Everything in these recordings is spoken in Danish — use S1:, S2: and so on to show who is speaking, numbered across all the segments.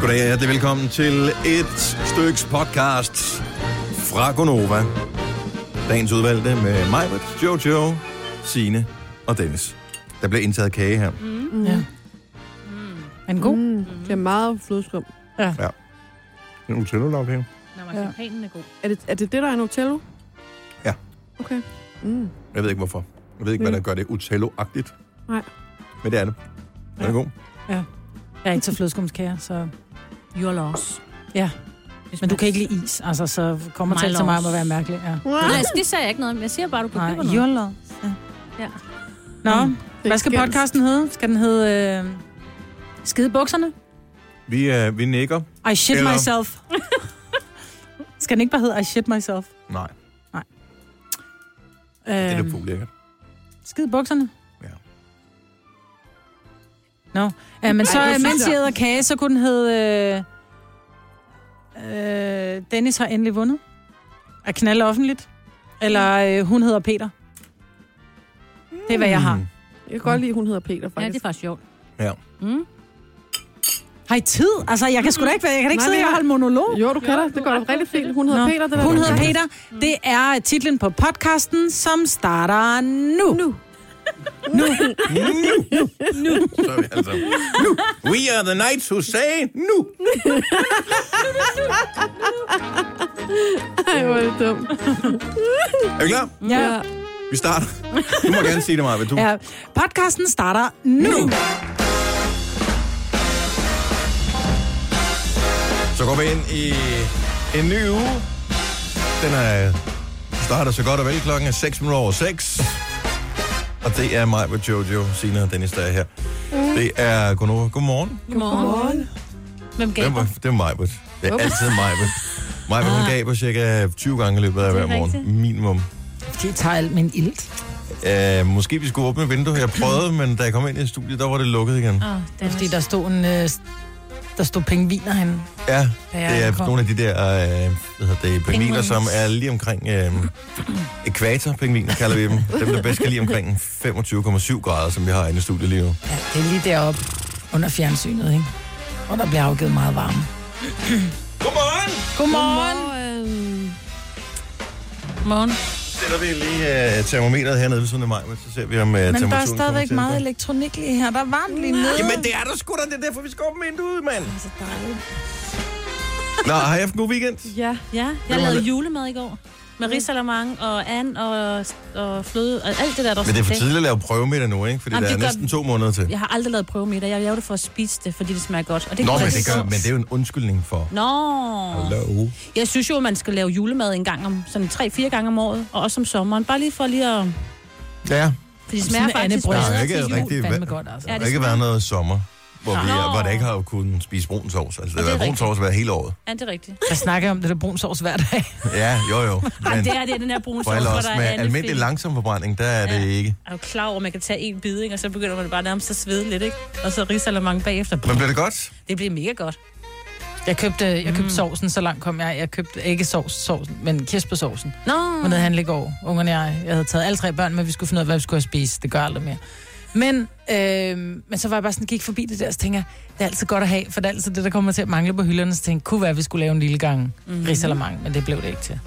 S1: Goddag og hjertelig velkommen til et styks podcast fra Gonova. Dagens udvalgte med mig, Jojo, Sine og Dennis. Der bliver indtaget kage her.
S2: Mm. Ja. Er den god? Mm.
S3: Det er meget flødeskum.
S1: Det er en utello her.
S4: Når marcipanen er god.
S3: Er det, er det det, der er en Otello?
S1: Ja.
S3: Okay. Mm.
S1: Jeg ved ikke hvorfor. Jeg ved ikke, hvad der gør det utello-agtigt.
S3: Nej.
S1: Men det er det. Den er god.
S2: Jeg er ikke til flødeskumskære, så...
S4: Your loss.
S2: Ja.
S4: Hvis
S2: Men du
S4: man-
S2: kan ikke lide is, altså, så kommer
S4: My
S2: til til mig om
S4: loss.
S2: at være mærkelig. Ja.
S4: Nej, altså, det sagde jeg ikke noget om. Jeg siger bare, du kan
S2: Nej,
S4: købe noget.
S2: joller. Ja.
S4: Ja.
S2: Nå,
S3: Mm.
S2: hvad skal podcasten hedde? Skal den hedde... Øh, Skide bukserne?
S1: Vi, øh, vi nikker.
S2: I shit
S1: Eller-
S2: Eller... myself. skal den ikke bare hedde I shit myself?
S1: Nej,
S2: Øhm,
S1: det er det ulækkert.
S2: skide bukserne?
S1: Ja.
S2: Nå, øh, men så
S3: Ej, hvor
S2: Ej,
S3: synes
S2: mens
S3: jeg-
S2: jeg æder kage, så kunne den hedde... Øh, øh, Dennis har endelig vundet. At knalde offentligt. Eller øh, hun hedder Peter. Det er, hvad jeg har.
S1: Mm.
S3: Jeg kan godt lide, at hun hedder Peter,
S4: Ja, det er
S3: faktisk.
S4: faktisk sjovt.
S1: Ja.
S4: Mm.
S2: Har I tid? Altså, jeg kan sgu da ikke, være- jeg kan da ikke
S3: Nej,
S2: sidde
S3: men
S2: her og
S3: jeg-
S2: holde monolog.
S3: Jo, du kan da. Det går da rigtig fint. Hun hedder
S2: Nå.
S3: Peter. Det der
S2: Hun
S3: da Mm.
S2: hedder
S3: dejligt.
S2: Peter. Det er øh, titlen på podcasten, som starter nu.
S3: Nu.
S1: Nu! nu. Så er vi altså. Nu! We are the knights who say nu!
S3: Ej, hvor er det dumt.
S1: Er vi klar?
S2: Ja.
S1: Vi starter. Du må gerne sige det, Maja. Du...
S2: ja. Podcasten starter nu.
S1: Så går vi ind i en ny uge. Den er starter så godt og vel klokken er 6 minutter over 6. Og det er mig med Jojo, Sina og Dennis, der er her. Det er Gunova. Godmorgen.
S4: Godmorgen. Hvem gav
S1: Det var,
S4: dig?
S1: det var Majbert. Det er altid Majbert. Majbert, hun gav på cirka 20 gange i løbet af hver
S4: rigtigt.
S1: morgen. Minimum.
S2: De tager alt med en ilt.
S1: Uh, måske vi skulle åbne vinduet. Jeg prøvede, men da jeg kom ind i studiet, der var det lukket igen.
S2: Det
S4: Åh,
S2: er, fordi
S4: Dennis.
S2: der stod en... Øh, der stod pengeviner henne.
S1: Ja,
S2: Da jeg
S1: det er
S2: kom.
S1: nogle af de der øh, hvad hedder det, pingviner,
S4: Penguins.
S1: som er lige omkring øh, ekvatorpingviner, kalder vi dem. Dem, der bedst kan lige omkring 25,7 grader, som vi har inde i studiet lige nu.
S2: Ja, det er lige deroppe under fjernsynet, ikke? Og der bliver afgivet meget varme.
S1: Godmorgen!
S2: Godmorgen.
S4: Morgen.
S1: Sætter vi lige øh, termometret hernede ved siden af mig, men så ser vi, om øh,
S2: Men
S1: temperaturen
S2: der er
S1: kommer
S2: stadigvæk
S1: til at
S2: meget
S1: gå.
S2: elektronik lige her. Der er varmt lige nede.
S1: Jamen, det er der sgu da. Det er derfor, vi skal åbne vinduet, mand. Nå, har I haft en god weekend?
S3: Ja.
S4: Ja,
S1: var
S4: jeg lavede
S1: det.
S4: julemad i går.
S2: Mm.
S4: Med risalamang og and og, og fløde og alt det der, der
S1: Men det er for
S4: skal til.
S1: tidligt at lave prøvemiddag nu, ikke? Fordi
S4: Jamen,
S1: der er
S4: det gør
S1: næsten
S4: vi.
S1: to måneder til.
S4: Jeg har aldrig lavet prøvemiddag. Jeg laver det for at spise det, fordi det smager godt. Og det
S1: Nå,
S4: kan
S1: men
S4: jeg
S1: det,
S4: godt.
S1: gør, men det er jo en undskyldning for...
S4: Nå.
S1: Hallo.
S4: Jeg synes jo, at man skal lave julemad en gang om sådan 3-4 gange om året, og også om sommeren. Bare lige for lige at...
S1: Ja,
S4: For det
S2: Sådan
S4: smager
S2: en
S4: faktisk
S2: andebryst.
S4: bedre
S1: Der er ikke
S4: til jul.
S1: rigtig-
S2: Fandme godt, altså.
S4: Ja,
S1: Der
S4: det
S1: har ikke
S4: smager-
S1: været noget sommer, hvor, vi,
S4: Nå.
S1: hvor der ikke har kunnet spise brun sovs. Altså, det
S4: det
S1: har
S4: er
S1: været brun
S4: rigtigt.
S1: sovs hver hele året.
S4: Ja, det er rigtigt.
S2: Jeg snakker om det der brun sovs hver dag.
S1: Ja, jo jo.
S4: Ej,
S1: Men
S4: det er det, er den her brune
S1: for
S4: sovs, hvor
S1: ellers
S4: der
S1: med
S4: er andet
S1: almindelig
S4: fedt.
S1: langsom forbrænding, der er det ikke.
S4: Er du klar over, at man kan tage en bid, ikke? og så begynder man bare nærmest at svede lidt, ikke? Og så risalamang bagefter.
S1: Men bliver det godt?
S4: Det bliver mega godt.
S2: Jeg købte, jeg købte
S1: Mm.
S2: sovsen, så langt kom jeg. Jeg købte ikke sovs, sovsen, men kirsebærsovsen.
S4: Nå,
S2: Hun havde handlet i går, ungerne og jeg. Jeg havde taget alle tre børn med, vi skulle finde ud af, hvad vi skulle have spist. Det gør jeg aldrig mere. Men, øh, men så var jeg bare sådan, gik forbi det der, så tænker jeg, det er altid godt at have, for det er altid det, der kommer til at mangle på hylderne. Så tænkte jeg, kunne være, at vi skulle lave en lille gang mm. risalamang, men det blev det ikke til.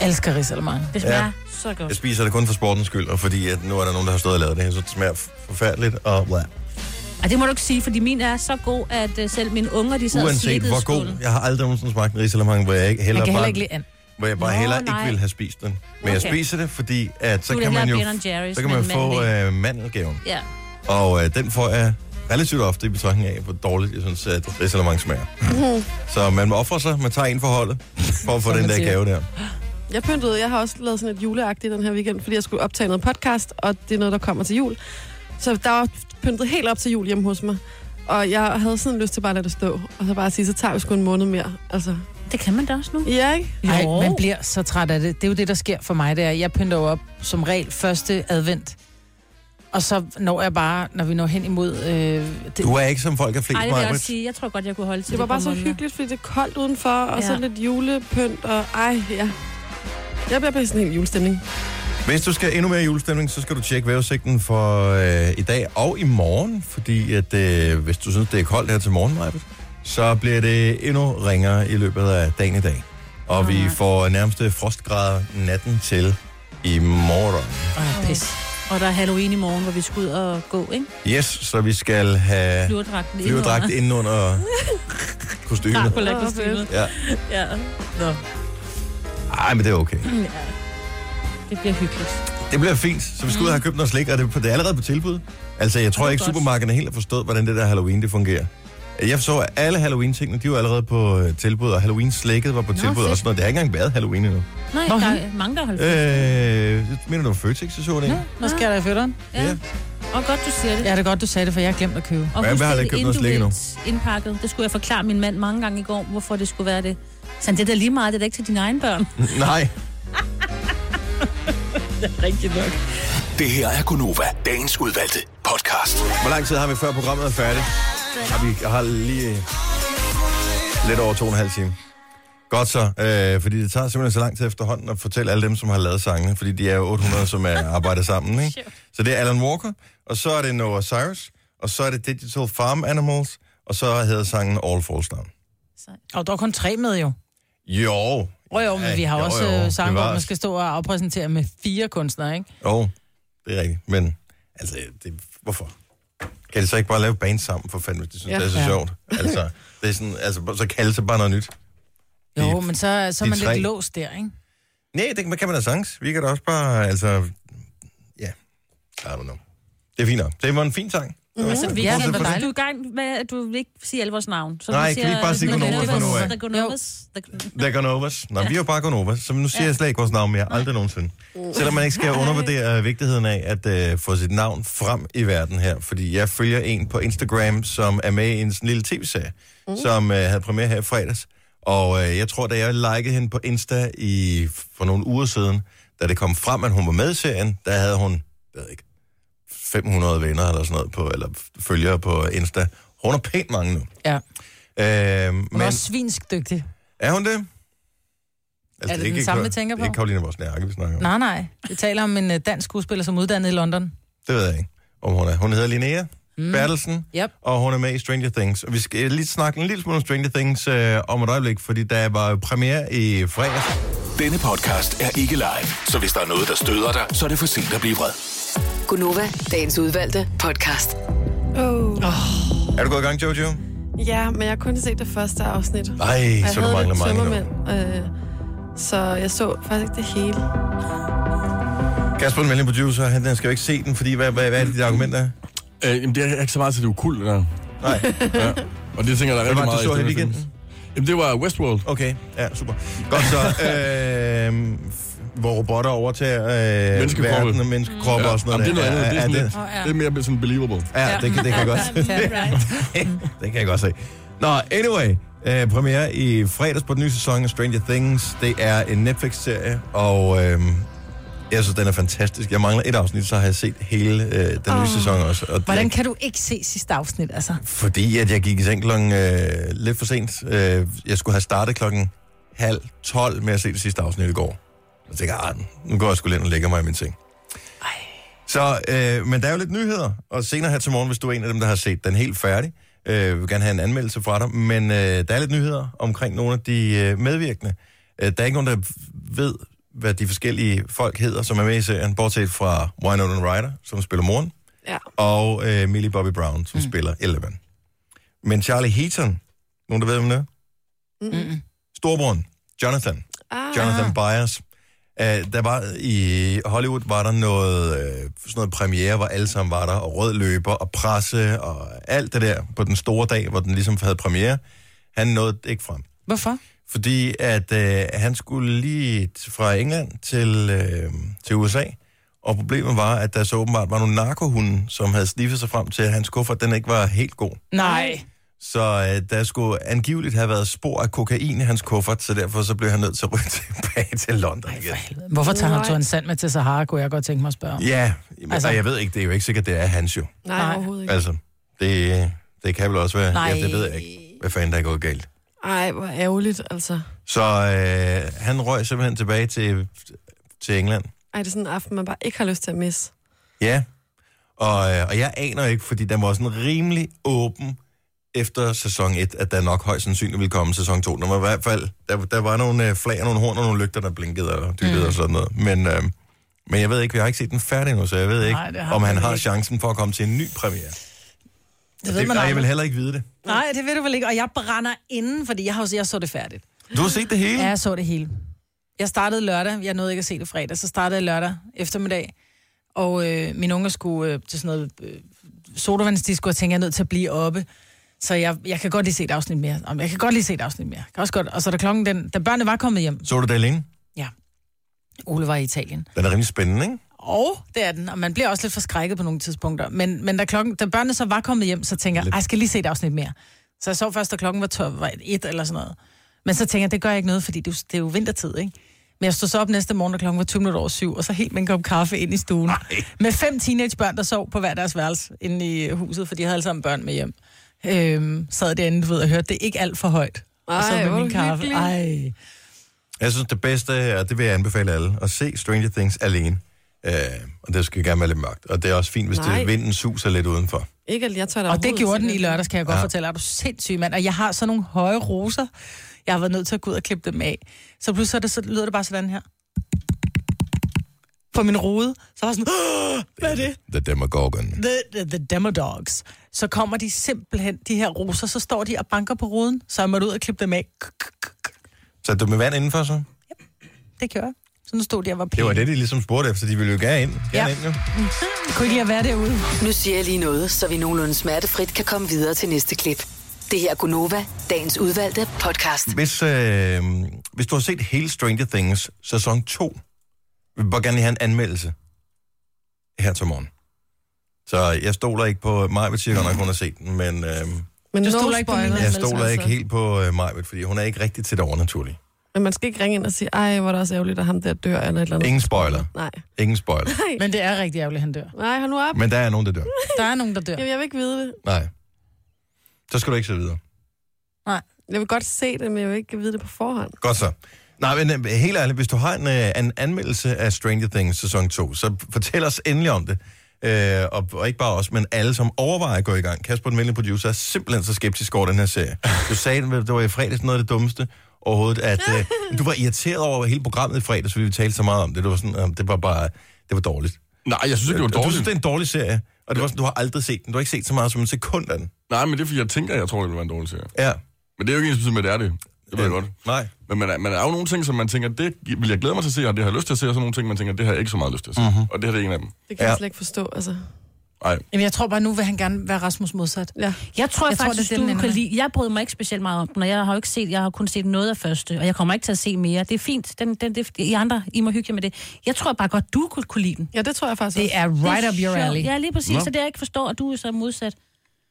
S2: Jeg elsker risalamang.
S4: det smager ja. så godt.
S1: Jeg spiser det kun for sportens skyld, og fordi at nu er der nogen, der har stået og lavet det her, så det smager forfærdeligt. Og bla.
S4: Og det må du ikke sige, fordi min er så god, at øh, selv mine unger, de sad og
S1: uanset
S4: slikkede
S1: hvor god,
S4: skålen.
S1: jeg har aldrig nogensinde smagt en risalamang, hvor jeg ikke heller
S2: Jeg kan heller
S1: bare,
S2: ikke lide and.
S1: hvor jeg bare
S4: Nå,
S1: heller ikke
S4: nej.
S1: ville have spist den. Men jeg
S4: Okay.
S1: spiser det, fordi at så
S4: Du vil
S1: kan man jo
S4: hellere Ben Jerry's,
S1: så kan man
S4: men
S1: få
S4: mandel.
S1: øh, mandelgaven.
S4: Ja.
S1: Og øh, den får jeg relativt ofte i betragtning af, hvor dårligt jeg synes, at risalemang smager. så man må ofre sig, man tager en for holdet, for at få
S2: Som
S1: den
S2: man
S1: der
S2: siger.
S1: gave der.
S3: Jeg pyntede, jeg har også lavet sådan et juleagtigt den her weekend, fordi jeg skulle optage noget podcast, og det er noget, der kommer til jul. Så der var pyntet helt op til jul hjemme hos mig. Og jeg havde sådan lyst til bare at lade det stå, og så bare sige, så tager vi sgu en måned mere. Altså,
S4: Det kan man da også nu.
S3: ja, ikke?
S2: Ej,
S4: Jo.
S2: man bliver så træt af det. Det er jo det, der sker for mig. Det er, jeg pynter jo op som regel første advent. Og så når jeg bare, når vi når hen imod... Øh, det,
S1: Du er ikke som folk er flest,
S4: Ej, det vil jeg
S1: Maja.
S4: også sige. Jeg tror godt, jeg kunne holde til
S3: Det var
S4: et par
S3: bare så
S4: måneder.
S3: hyggeligt, fordi det er koldt udenfor, og
S4: Ja.
S3: så lidt julepynt, og ej, ja. Jeg bliver bare sådan en helt julestemning.
S1: Hvis du skal endnu mere julestemning, så skal du tjekke vejrudsigten for øh, i dag og i morgen. Fordi at, øh, hvis du synes, det er koldt her til morgen, Maja, så bliver det endnu ringere i løbet af dagen i dag. Og
S4: Åh,
S1: vi
S4: nej.
S1: får nærmeste frostgrader natten til i morgen.
S2: Åh, pis.
S4: Og der er Halloween i morgen, hvor vi skal ud og gå, ikke?
S1: Yes, så vi skal have
S4: Flyverdragten Ah,
S1: flyverdragt ind under kostymet.
S4: på kostymet.
S1: Ja.
S4: Ja. Nå.
S1: Ej, men det er okay.
S4: Ja. Det bliver hyggeligt.
S1: Det bliver fint, så vi skal ud og have købt noget slik, og det, det er allerede på tilbud. Altså, jeg tror
S4: Det er
S1: ikke,
S4: godt.
S1: supermarkederne helt har forstået, hvordan det der Halloween, det fungerer. Jeg så, at alle Halloween-tingene, de var allerede på øh, tilbud, og Halloween-slækket var på
S4: Nå,
S1: tilbud
S4: fedt.
S1: og sådan noget. Det har ikke engang været Halloween endnu.
S4: Nej,
S2: Nå,
S4: der
S2: hyggeligt.
S4: er mange, der har holdt
S1: Øh,
S4: øh,
S1: jeg mener du om Føtex, så så det ikke?
S2: Nå skal jeg da i fødderen.
S1: ja.
S4: ja. Og godt, du siger det.
S2: Ja, det er godt, du sagde det, for jeg har glemt at købe.
S4: Og
S1: Hvad-
S4: husk,
S1: hvad har
S4: det
S1: der købt
S4: er
S1: noget slik endnu?
S4: individuelt Indpakket. Det skulle jeg forklare min mand mange gange i går, hvorfor det skulle være det. Så det er da lige meget, det er da ikke til dine egne børn.
S1: Nej.
S4: Rigtigt nok.
S5: Det her er Gunova, dagens udvalgte podcast.
S1: Hvor lang tid har vi før programmet er færdigt? Har vi jeg har lige øh, lidt over to og en halv time. Godt så, øh, fordi det tager simpelthen så lang tid efterhånden at fortælle alle dem, som har lavet sangene, fordi de er jo 800, som er arbejder sammen, ikke? Så det er Alan Walker, og så er det Noah Cyrus, og så er det Digital Farm Animals, og så hedder sangen All Falls Down.
S2: Og der er kun tre med jo.
S1: Jo.
S2: Åh jo, men vi har
S1: Ja,
S2: også øh, sange, hvor
S1: bevares.
S2: man skal stå og afpræsentere med fire kunstnere, ikke?
S1: Jo, det er rigtigt, men altså, det, hvorfor? Kan de så ikke bare lave band sammen, for fanden, hvis de synes, ja.
S3: Ja.
S1: det er så
S2: Ja.
S1: sjovt? Altså, det er sådan, altså, så kalde sig bare noget nyt.
S2: Jo,
S1: De-
S2: men så, så er
S1: de
S2: man
S1: tre.
S2: lidt låst der, ikke?
S1: Nej, det kan- kan man da sagtens. Vi kan da også bare, altså... Ja, I don't know. Det er fint nok. Det var en fin sang. Mm-hmm. Altså,
S2: vi er
S4: Men
S2: Hvor
S4: du,
S2: dejligt.
S4: er i gang med, at du vil ikke sige alle vores navn. Så
S1: Nej,
S4: du
S1: kan vi
S4: siger,
S1: ikke bare sige
S4: The
S1: Gunovas fra nu af?
S4: The Gunovas, The Gunovas.
S1: Der går Novas. Nå, vi er jo bare Gonovas, så nu siger jeg slet ikke vores navn mere. Aldrig nogensinde. Selvom man ikke skal undervurdere øh, vigtigheden af at øh, få sit navn frem i verden her. Fordi jeg følger en på Instagram, som er med i en sådan lille tv-serie,
S2: Mm.
S1: som øh, havde premiere her i fredags. Og øh, jeg tror, da jeg likede hende på Insta i, for nogle uger siden, da det kom frem, at hun var med i serien, der havde hun, jeg ved ikke, 500 venner eller sådan noget på, eller følgere på Insta. Hun har pænt mange nu.
S2: Ja.
S1: Øh,
S2: Hun er også svinsk dygtig.
S1: er hun det? Altså,
S2: det den samme, vi tænker på?
S1: Ikke Karoline Vosniakke, vi snakker om. Nej.
S2: Nej, nej. Vi taler om en øh, dansk skuespiller, som er uddannet i London.
S1: Det ved jeg ikke, om hun er. Hun hedder Linnea mm. Bertelsen,
S2: Yep.
S1: og hun er med i Stranger Things. Og vi skal lige snakke en lille smule om Stranger Things øh, om et øjeblik, fordi der var premiere i fredags.
S5: Denne podcast er ikke live, så hvis der er noget, der støder dig, så er det for sent at blive vred.
S6: Gunova, dagens udvalgte podcast.
S3: Oh.
S1: Er du gået i gang, Jojo?
S3: Ja, men jeg har kun set det første afsnit. Og
S1: Nej,
S3: jeg
S1: så du
S3: havde
S1: mangler
S3: lidt
S1: mange
S3: tømmermænd,
S1: nu.
S3: øh, så jeg så faktisk ikke det hele.
S1: Kasper, den venlige producer, han han skal jo ikke se den, fordi hvad, hvad, hvad er det, dit argument er?
S7: Øh, jamen, det er ikke så meget til det ukul, der.
S1: Nej,
S7: Ja. Og det tænker jeg, der er
S1: hvad
S7: rigtig
S1: var det,
S7: meget i
S1: du så her
S7: den
S1: i
S7: her film.
S1: weekenden?
S7: Jamen, det var Westworld.
S1: Okay, ja, super. Godt så, øh, hvor robotter overtager øh,
S7: Menneskekroppe.
S1: verden og menneskekroppe
S7: Ja,
S1: og sådan noget.
S7: jamen, det er noget
S1: der.
S7: andet. Det er, sådan
S1: Ja,
S7: lidt,
S1: ja,
S2: Åh, ja.
S7: det er mere sådan believable.
S1: Ja, det, kan, det kan jeg godt Det kan jeg godt se. Nå, anyway. Øh, premiere i fredags på den nye sæson af Stranger Things. Det er en Netflix-serie, og øh, jeg synes, den er fantastisk. Jeg mangler et afsnit, så har jeg set hele øh, den nye sæson også. Og
S2: Hvordan
S1: jeg,
S2: kan du ikke se sidste afsnit, altså?
S1: Fordi at jeg gik i seng klokken øh, lidt for sent. Øh, jeg skulle have startet klokken halv tolv med at se det sidste afsnit i går. Og tænkte, jeg, ah, nu går jeg sgu lidt og lægger mig i min seng. Så, øh, men der er jo lidt nyheder, og senere her til morgen, hvis du er en af dem, der har set den helt færdig, øh, vil gerne have en anmeldelse fra dig, men øh, der er lidt nyheder omkring nogle af de øh, medvirkende. Øh, der er ikke nogen, der ved, hvad de forskellige folk hedder, som er med i serien, bortset fra Winona Ryder, som spiller moren,
S3: Ja.
S1: og øh, Millie Bobby Brown, som mm. spiller Eleven. Men Charlie Heaton, nogen der ved, hvem det er?
S2: Mm-mm.
S1: Storbroren, Jonathan.
S3: Ah,
S1: Jonathan Byers. Uh, der var i Hollywood var der noget, uh, sådan noget premiere, hvor alle sammen var der, og rød løber, og presse, og alt det der på den store dag, hvor den ligesom havde premiere. Han nåede ikke frem.
S2: Hvorfor?
S1: Fordi at uh, han skulle lige t- fra England til, uh, til USA, og problemet var, at der så åbenbart var nogle narkohunde, som havde sniffet sig frem til, at hans kuffert den ikke var helt god.
S2: Nej.
S1: Så øh, der skulle angiveligt have været spor af kokain i hans kuffert, så derfor så blev han nødt til at ryge tilbage til London igen.
S2: Hvorfor tager han
S3: Nej.
S2: Turen Sand med til Sahara, kunne jeg godt tænke mig at spørge. Ja.
S1: Ja, men,
S2: Altså-
S1: altså, jeg ved ikke, det er jo ikke sikkert, det er hans jo.
S3: nej,
S2: Nej.
S3: overhovedet ikke.
S1: Altså, det, det kan vel også være,
S2: Nej.
S1: Nej. Ja, det ved jeg ikke, hvad fanden der er gået galt.
S3: Ej, hvor ærgerligt, altså.
S1: Så øh, han røg simpelthen tilbage til, til England.
S3: Ej, det er sådan en aften, man bare ikke har lyst til at misse.
S1: Ja, og, øh, og jeg aner ikke, fordi den var sådan rimelig åben efter sæson 1, at der nok højst sandsynligt ville komme sæson 2. Der var i hvert fald, der, der var nogle øh, flag og nogle horn og nogle lygter, der blinkede og dyttede mm. og sådan noget. Men, øh, men jeg ved ikke, vi har ikke set den færdig endnu, så jeg ved ikke,
S2: Nej, det
S1: Nej,
S2: har
S1: om
S2: man
S1: han har
S2: ikke.
S1: chancen for at komme til en ny premiere.
S2: Det
S1: Det,
S2: ved man
S1: nej, jeg vil
S2: aldrig.
S1: heller ikke vide det.
S2: Nej, det ved du vel ikke. Og jeg brænder inden, fordi jeg, har, jeg så det færdigt.
S1: Du har set det hele?
S2: Ja, jeg så det hele. Jeg startede lørdag, jeg nåede ikke at se det fredag, så startede jeg lørdag eftermiddag, og øh, mine unger skulle øh, til sådan noget øh, sodavandsdisko, og tænkte, jeg er nødt til at blive oppe. Så jeg, jeg kan godt lige se et afsnit mere. Jamen, Jeg kan godt lige se et afsnit mere. Jeg Kan også godt. Og så da klokken den, da børnene var kommet hjem,
S1: Så du det alene?
S2: ja, Ole var i Italien.
S1: Den er rimelig spændende, ikke?
S2: Og det er den, og man bliver også lidt forskrækket på nogle tidspunkter. Men, men da, klokken, da børnene så var kommet hjem, så tænker jeg, "Ej, jeg skal lige se et afsnit mere. Så jeg så først, da klokken var, 12, var et eller sådan noget. Men så tænker jeg, det gør jeg ikke noget, fordi det, er jo- det er jo vintertid, ikke? Men jeg stod så op næste morgen, da klokken var 20 minutter over syv, og så helt med en kop kaffe ind i stuen. Ej. Med fem teenagebørn, der sov på hver deres værelse inde i øh, huset, for de havde alle sammen børn med hjem. Øhm, sad derinde, du ved, og hørte det ikke alt for højt. og så
S3: Ej,
S2: med
S3: hvor
S2: min kaffe.
S3: hyggeligt.
S2: Ej.
S1: Jeg synes, det bedste er, det vil jeg anbefale alle, at se Stranger Things alene. Øh, og det skal gerne være lidt mørkt. Og det er også fint, hvis
S3: Nej.
S1: det vinden suser lidt udenfor.
S3: Ikke, at jeg tør da
S2: Og det
S3: overhovedet
S2: gjorde
S3: se
S2: den i
S3: det.
S2: lørdags, kan jeg godt ja. fortælle. Er du sindssyg, mand? Og jeg har sådan nogle høje roser. Jeg har været nødt til at gå ud og klippe dem af. Så pludselig så er det, så lyder det bare sådan her. På min rode. Så var jeg sådan, "Åh, hvad er det?
S1: The Demogorgon.
S2: The, the, the Demodogs. Så kommer de simpelthen, de her roser, så står de og banker på ruden. Så jeg måtte ud og klippe dem af.
S1: Så du med vand indenfor så?
S2: Det gjorde jeg. Så nu stod de og var pæne.
S1: Det var det, de ligesom spurgte efter. De ville jo gerne ind. Gerne
S2: Ja.
S1: ind jo.
S2: Jeg kunne ikke lide at være derude.
S6: Nu siger jeg lige noget, så vi nogenlunde smertefrit kan komme videre til næste klip. Det her er Gunova, dagens udvalgte podcast.
S1: Hvis, øh, hvis du har set hele Stranger Things sæson 2, vil jeg bare gerne lige have en anmeldelse her til morgen. Så jeg stoler ikke på øh, Majbet, siger jeg godt nok, hun har set den, men øh,
S3: Men
S2: Du
S3: no
S2: stoler ikke
S3: spoilers, altså.
S2: på min
S1: jeg
S2: anmeldelse,
S1: stoler ikke helt på øh, Majbet, fordi hun er ikke rigtig til det overnaturlige.
S3: Men man skal ikke ringe ind og sige, ej, hvor er det også ærgerligt, at ham der dør, eller et eller andet.
S1: Ingen spoiler.
S3: Nej.
S1: Ingen spoiler.
S2: Men det er rigtig ærgerligt, han dør.
S3: Nej, hold nu op.
S1: Men der er nogen, der dør.
S2: Der er nogen, der dør.
S3: Jamen, jeg vil ikke vide det.
S1: Nej. Så skal du ikke se videre.
S3: Jeg vil godt se det, men jeg vil ikke vide det på forhånd.
S1: Godt så. Nej, men øh, helt ærligt, hvis du har en, øh, en anmeldelse af Stranger Things sæson 2, så fortæl os endelig om det. Øh, og, og ikke bare os, men alle, som overvejer at gå i gang. Kasper, den venlige producer, er simpelthen så skeptisk over den her serie. Du sagde, at det var i fredags noget af det dummeste overhovedet, at øh, du var irriteret over hele programmet i fredags, fordi vi talte så meget om det. Du var sådan, øh, det var bare, det var dårligt.
S7: Nej, jeg synes ikke, det var
S1: Og Du
S7: dårligt.
S1: synes, det er en dårlig serie, og det var sådan, du har aldrig set den. Du har ikke set så meget som en sekund af den.
S7: Nej, men det er fordi, jeg tænker, jeg tror, det vil være en dårlig serie.
S1: Ja.
S7: Men det er jo ikke ens betydning med, at det er det. Det ved jeg
S1: Øh,
S7: godt.
S1: Nej.
S7: Men man er, man er jo nogle ting, som man tænker, det vil jeg glæde mig til at se, og det har jeg lyst til at se, og så nogle ting, man tænker, det har jeg ikke så meget lyst til at se.
S1: Mhm.
S7: Mm-hmm. Og det her det er en af dem.
S3: Det kan ja.
S1: Ja.
S3: jeg slet ikke forstå, altså.
S7: Nej.
S2: Jamen, jeg tror bare, nu vil han gerne være Rasmus modsat.
S3: Ja.
S4: Jeg tror jeg
S2: Jeg tror,
S4: faktisk,
S2: det er den,
S4: tror, du
S2: den
S4: kan
S2: er.
S4: lide... Jeg brød mig ikke specielt meget om den, og jeg har jo ikke set... Jeg har kun set noget af første, og jeg kommer ikke til at se mere. Det er fint. Den, den, det, I andre, I må hygge jer med det. Jeg tror bare godt, du kunne, kunne lide den.
S3: ja, det tror jeg faktisk
S2: Det
S3: også.
S2: er right
S4: Det er
S2: up your
S4: sjovt.
S2: alley.
S4: Ja, lige præcis. Så det jeg ikke forstår, at du er så modsat.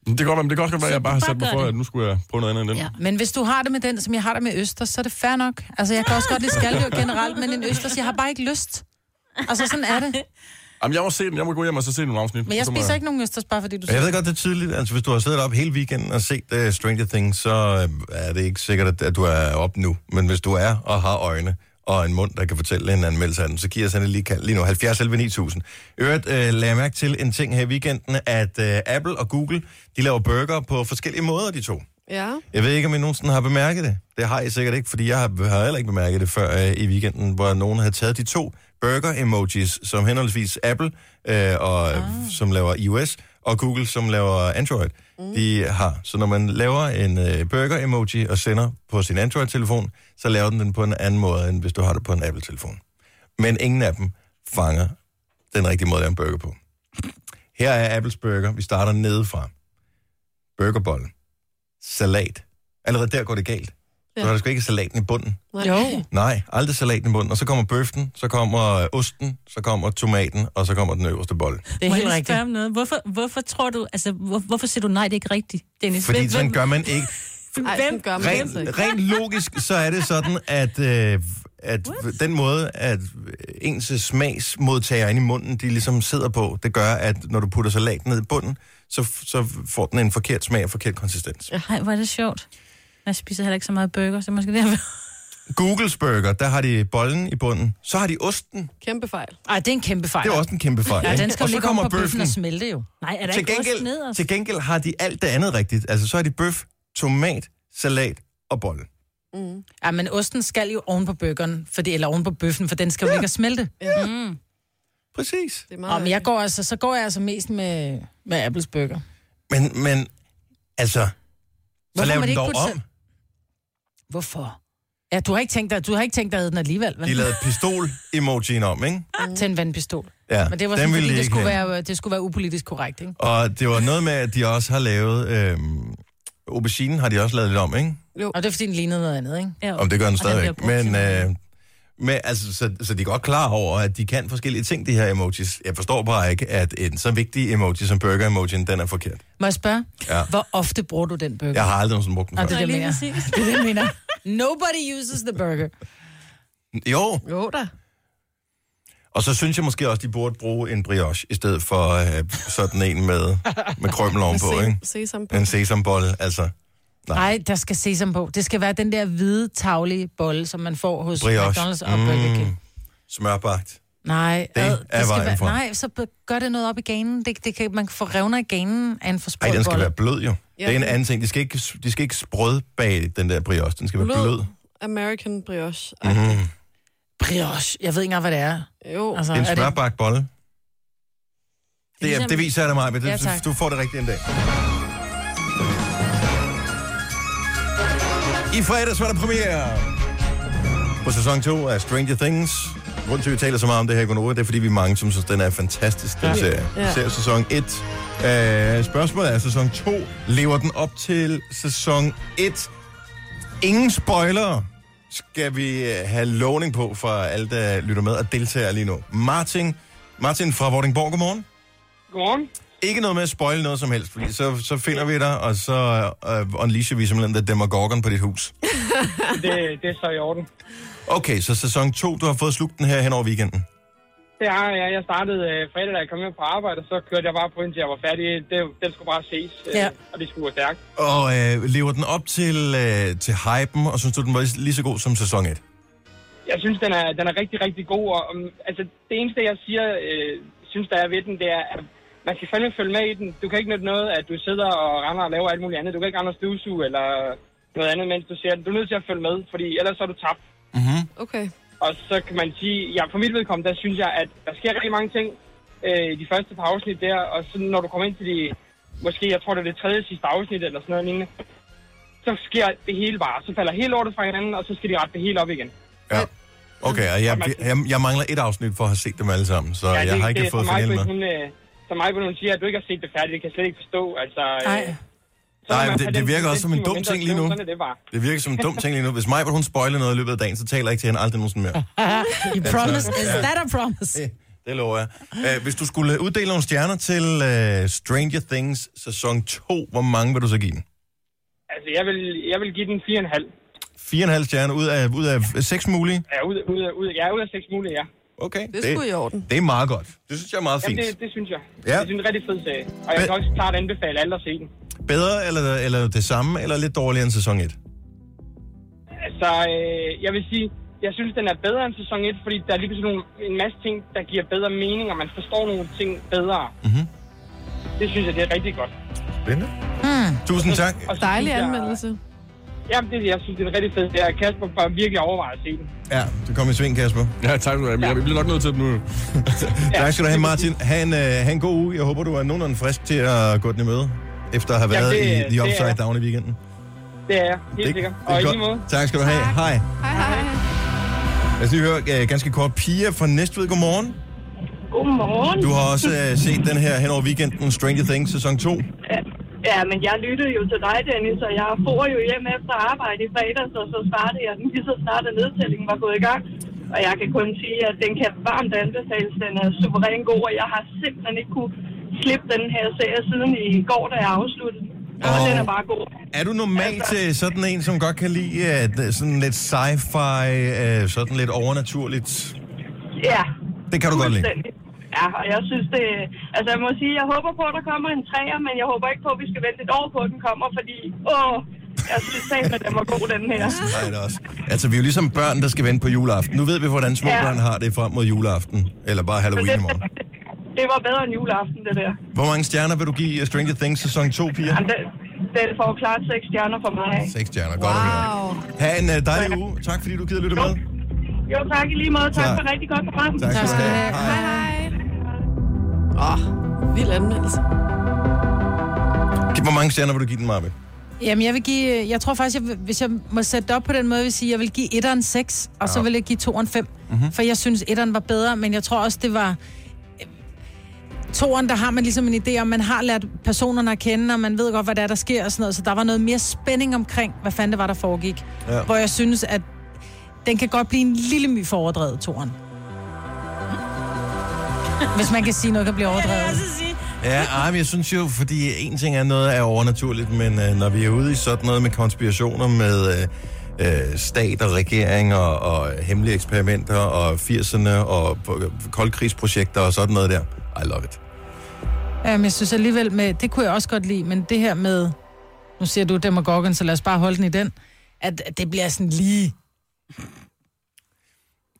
S7: Men Det kan godt være, men det kan også godt være, at jeg bare har
S4: Bare
S7: sat mig
S4: gør
S7: for,
S4: det.
S7: at nu skulle jeg prøve noget andet end den.
S4: Ja.
S2: Men hvis du har det med den, som jeg har det med Østers, så er det fair nok. Altså, jeg kan også godt lide skaldyr generelt, men en Østers, jeg har bare ikke lyst. Altså, sådan er det.
S7: Jamen, jeg må se den. Jeg må gå hjem og så se nogle afsnit.
S2: Men jeg
S7: Så må
S2: spiser ikke nogen Østers, bare fordi du
S1: Jeg
S2: siger
S1: ved godt, det er tydeligt. Altså, hvis du har siddet op hele weekenden og set uh, Stranger Things, så øh, er det ikke sikkert, at, at du er op nu. Men hvis du er og har øjne og en mund, der kan fortælle en anmeldelse af den, så giver jeg sådan lige, kald lige nu 70 11 9000. I Øvrigt, uh, lagde jeg mærke til en ting her i weekenden, at uh, Apple og Google, de laver burger på forskellige måder, de to.
S3: Ja.
S1: Jeg ved ikke, om I nogensinde har bemærket det. Det har I sikkert ikke, fordi jeg har, har heller ikke bemærket det før øh, i weekenden, hvor nogen havde taget de to burger-emojis, som henholdsvis Apple, øh, og, ah. som laver iOS, og Google, som laver Android. Mm. De har. Så når man laver en øh, burger-emoji og sender på sin Android-telefon, så laver den den på en anden måde, end hvis du har det på en Apple-telefon. Men ingen af dem fanger den rigtige måde at lave en burger på. Her er Apples burger. Vi starter nedefra. Burgerbollen salat. Allerede der går det galt. Ja.
S3: Ja.
S1: Så har der sgu ikke salaten i bunden.
S3: Nej.
S2: Jo.
S1: Nej, aldrig salaten i bunden. Og så kommer bøften, så kommer øh, osten, så kommer tomaten, og så kommer den øverste bolle.
S2: Det er
S4: Må
S2: helt
S4: jeg
S2: rigtigt.
S4: spørge om noget? Hvorfor, hvorfor tror du... Altså, hvor, hvorfor siger du nej, det er ikke rigtigt, Dennis?
S1: Fordi
S4: Hvem-
S1: sådan
S4: hvem-
S1: gør man ikke.
S3: Ej, sådan gør man altså
S1: Rent,
S3: ikke.
S1: rent logisk, så er det sådan, at, øh, at den måde, at ens smagsmodtager inde i munden, de ligesom sidder på, det gør, at når du putter salaten ned i bunden, så, så får den en forkert smag og forkert konsistens.
S4: Nej, hvor er det sjovt. Jeg spiser heller ikke så meget burger, så måske det
S1: Googles burger, der har de bollen i bunden. Så har de osten.
S3: Kæmpe fejl.
S2: Ej, det er en kæmpe fejl.
S1: Det er jo også en kæmpe fejl.
S2: Ja,
S1: ikke?
S2: den skal
S1: og
S2: jo
S1: så
S2: ligge om
S1: kommer
S2: på bøffen
S1: bøffen.
S2: og smelte jo.
S4: Nej, er der
S1: Til
S4: ikke ost
S1: gengæld,
S4: ned? og-
S1: til gengæld har de alt det andet rigtigt. Altså, så har de bøf, tomat, salat og bolle.
S2: Ja, men osten skal jo oven på bøgeren, fordi, eller oven på bøffen, for den skal jo ligge og smelte.
S1: Præcis.
S3: Det er meget
S2: Nå, men Mm. jeg går altså, så går jeg altså mest med, med Apples burger.
S1: Men, men altså, så lav
S2: må det
S1: den
S2: ikke
S1: dog
S2: putte
S1: om.
S2: Hvorfor? Ja, du har ikke tænkt dig, du har ikke tænkt dig at æde den alligevel, vel?
S1: De lavede pistol-emojien om, ikke?
S2: Til en vandpistol.
S1: Ja,
S2: Men det var
S1: den
S2: sådan,
S1: ville
S2: fordi
S1: de
S2: det
S1: ikke
S2: skulle,
S1: have.
S2: være, det skulle være upolitisk korrekt, ikke?
S1: Og det var noget med, at de også har lavet... Øhm, auberginen har de også lavet lidt om, ikke?
S2: Og det er fordi, den lignede noget andet, ikke?
S4: Ja,
S1: Om det gør den
S4: og bliver
S1: stadigvæk.
S4: brugt til
S1: Men,
S4: noget.
S1: øh, men altså, så, så de er godt klar over, at de kan forskellige ting, de her emojis. Jeg forstår bare ikke, at en så vigtig emoji som burger-emojien, den er forkert.
S2: Må jeg spørge?
S1: Ja.
S2: Hvor ofte bruger du den burger?
S1: Jeg har aldrig nogensinde brugt den
S2: Nå,
S1: før.
S2: det er det, jeg
S4: lige
S2: mener.
S4: præcis.
S2: Det er det, jeg mener. Nobody uses the burger.
S1: Jo,
S3: Jo da.
S1: og så synes jeg måske også, de burde bruge en brioche, i stedet for øh, sådan en med, med krømmel ovenpå, ikke?
S3: Sesam.
S1: En sesambolle, altså.
S2: Nej, der skal sesam på. Det skal være den der hvide, taglige bolle, som man får hos
S1: Brioche.
S2: McDonald's og Burger King.
S1: Mm. Smørbagt.
S2: Nej,
S1: Det
S2: ad,
S1: er vejen frem.
S2: nej, så b- gør det noget op i ganen. Det, det kan, man kan få revner i ganen af en for
S1: Ej,
S2: sprød
S1: den skal
S2: bolle.
S1: være blød jo. Det er en
S3: Ja.
S1: anden ting. De skal ikke, de skal ikke sprødbage den der brioche. Den skal være blød.
S3: Blød. American brioche.
S1: Mm.
S2: Brioche. Jeg ved ikke engang, hvad det er.
S3: Jo.
S2: Altså,
S1: Det er en
S2: det...
S1: smørbagt bolle.
S4: er
S1: Det, er,
S4: ligesom-
S1: det viser jeg dig mig, men det,
S2: Ja, tak.
S1: du får det rigtigt en dag. I fredags var der premiere på sæson 2 af Stranger Things. Grunden til, at vi taler så meget om det her i Gonova, det er, fordi vi er mange, som synes, den er fantastisk, den serie.
S3: Ja.
S1: Ser sæson 1. Øh, spørgsmålet er, sæson 2, lever den op til sæson 1? Ingen spoiler skal vi øh, have lovning på fra alle, der lytter med og deltager lige nu. Martin, Martin fra Vordingborg, godmorgen.
S8: Godmorgen.
S1: Ikke noget med at spoil noget som helst, fordi så, så finder vi dig, og så øh, unleasher vi simpelthen The Demogorgon på dit hus.
S8: Det, det er så i orden.
S1: Okay, så sæson 2, du har fået slugt den her hen over weekenden.
S8: Det har jeg. Jeg startede øh, fredag, da jeg kom hjem fra arbejde, og så kørte jeg bare på, indtil jeg var færdig. Det, den skulle bare ses, øh,
S2: Ja.
S8: og det skulle gå stærkt.
S1: Og øh, lever den op til, øh, til hypen, og synes du, den var lige- lige så god som sæson 1?
S8: Jeg synes, den er, den er rigtig, rigtig god. Og, um, altså, det eneste, jeg siger, øh, synes, der er ved den, det er, at man skal fandme følge med i den. Du kan ikke nytte noget, at du sidder og render og laver alt muligt andet. Du kan ikke rende og støvsuge eller noget andet, mens du ser den. Du er nødt til at følge med, fordi ellers er du tabt.
S3: Okay.
S8: Og så kan man sige, ja, for mit vedkommende, der synes jeg, at der sker rigtig mange ting øh, i de første par afsnit der, og så når du kommer ind til de, måske, jeg tror, det er det tredje sidste afsnit eller sådan noget lignende, så sker det hele bare. Så falder hele lortet fra hinanden, og så skal de rette det hele op igen.
S1: Ja. Okay, og jeg, jeg, jeg mangler et afsnit for at have set dem alle sammen, så jeg har ikke fået
S8: for mig,
S1: finalen med.
S8: Hun, øh, som mig, hun siger, at du ikke har set det færdigt, det kan jeg slet ikke forstå. Altså, øh,
S2: Nej.
S8: så må
S1: Nej,
S8: man
S1: men det-
S8: tage
S1: det
S8: den
S1: virker også som en
S8: 10
S1: dum
S8: minutter
S1: ting
S8: og
S1: lige
S8: skrive,
S1: nu.
S8: Sådan er det bare.
S1: Det virker som en dum ting lige nu. Hvis Maja, hun spoiler noget i løbet af dagen, så taler jeg ikke til hende aldrig nogensinde mere.
S2: You
S1: Altså-
S2: promise? Is that a promise?
S1: Det- Det lover jeg. Øh, Hvis du skulle uddele nogle stjerner til uh, Stranger Things sæson 2, hvor mange vil du så give den?
S8: Altså, jeg vil, jeg vil give den 4,5.
S1: 4,5 stjerner ud af, ud af 6 mulige?
S8: Ja, ud, ud, ud, ja, ud af 6 mulige, ja.
S1: Okay.
S3: Det skulle i orden.
S1: Det er meget godt. Det synes jeg er meget
S8: Jamen,
S1: fint.
S8: det, det synes jeg.
S1: Ja.
S8: Ja. Det er en rigtig fed serie. Og jeg
S1: Hvad-
S8: kan også klart anbefale alle at se den.
S1: Bedre eller, eller det samme, eller lidt dårligere end sæson 1?
S8: Altså, øh, jeg vil sige, jeg synes, den er bedre end sæson 1, fordi der er lige pludselig nogle, en masse ting, der giver bedre mening, og man forstår nogle ting bedre.
S1: Mhm.
S8: Det synes jeg, det er rigtig godt.
S1: Spændende. Mm. Tusind tak.
S8: Hmm. Og så
S3: Dejlig
S8: synes jeg-
S3: anmeldelse.
S8: Jamen, det, jeg synes, det er en rigtig fed serie. Kasper bør virkelig overveje at se den.
S1: Ja, du kom i sving, Kasper.
S7: Ja, tak skal du have. men Jeg bliver nok nødt til det nu.
S1: Ja, tak skal du have, Martin. Ha' en, uh, ha en god uge. Jeg håber, du er nogenlunde frisk til at gå den i møde, efter at have
S8: Jamen,
S1: været
S8: det-
S1: i
S8: det
S1: The
S8: er
S1: Upside
S8: jeg.
S1: Down i weekenden.
S8: Det er jeg, helt sikkert. Og i lige måde.
S1: Tak skal du have. Hej.
S3: Hej, hej.
S1: Lad os lige høre øh, ganske kort. Pia fra Næstved, godmorgen.
S9: Godmorgen.
S1: Du har også øh, set den her hen over weekenden, Stranger Things sæson 2.
S9: Ja, Ja, men jeg lyttede jo til dig, Dennis, og jeg får jo hjem efter arbejde i fredags, og så startede jeg den lige så snart, at nedtællingen var gået i gang. Og jeg kan kun sige, at den kan varmt anbefales. Den er suveræn god, og jeg har simpelthen ikke kunne slippe den her serie siden i går, da jeg afsluttede den. Og
S1: Åh.
S9: den er bare god.
S1: Er du normalt
S9: Altså-
S1: øh, sådan en, som godt kan lide øh, sådan lidt sci-fi, øh, sådan lidt overnaturligt?
S9: Ja,
S1: Det kan du godt lide.
S9: fuldstændig. Ja, og jeg synes det... Altså, jeg må sige, jeg håber på, at der kommer en træer, men jeg håber ikke på, at vi skal vente et år på, at den kommer, fordi... Åh, Jeg synes sagt, at den var god, den her.
S1: Nej, det er også. Altså, vi er jo ligesom børn, der skal vente på juleaften. Nu ved vi, hvordan små
S9: Ja.
S1: børn har det frem mod juleaften. Eller bare Halloween i morgen.
S9: Det var bedre end juleaften, det der.
S1: Hvor mange stjerner vil du give øh, Stranger Things sæson 2, piger?
S9: Jamen, Den, den får klart seks stjerner for mig.
S1: Seks stjerner, godt at høre.
S3: Wow.
S1: Ha' en øh, dejlig uge. Tak fordi du gider lytte med.
S9: Jo, tak i lige måde. Tak,
S1: Tak.
S9: for rigtig godt program.
S1: Tak skal du have. Hej.
S3: Hej. Åh, oh, vild anmeldelse.
S1: Hvor mange stjerner vil du give den, Marve?
S2: Jamen, jeg vil give... øh, Jeg tror faktisk, jeg, vil- hvis jeg må sætte det op på den måde, vil jeg sige, jeg vil give etteren 6, og så vil jeg give toeren 5. Mm-hmm. For jeg synes, etteren var bedre, men jeg tror også, det var... øh, Toeren, der har man ligesom en idé om, man har lært personerne at kende, og man ved godt, hvad der er, der sker og sådan noget. Så der var noget mere spænding omkring, hvad fanden det var, der foregik.
S1: Ja.
S2: Ja. Hvor jeg synes, at den kan godt blive en lille my for overdrevet, toeren. Hvis man kan sige, noget kan blive overdrevet.
S1: Ja, ej, men jeg synes jo, fordi en ting er noget er overnaturligt, men øh, når vi er ude i sådan noget med konspirationer med øh, øh, stat og regeringer og hemmelige eksperimenter og 80'erne og p- koldkrigsprojekter og sådan noget der. I love it.
S2: Ja, men Øhm, jeg synes alligevel med, det kunne jeg også godt lide, men det her med, nu siger du demagogen, så lad os bare holde den i den, at at det bliver sådan lige...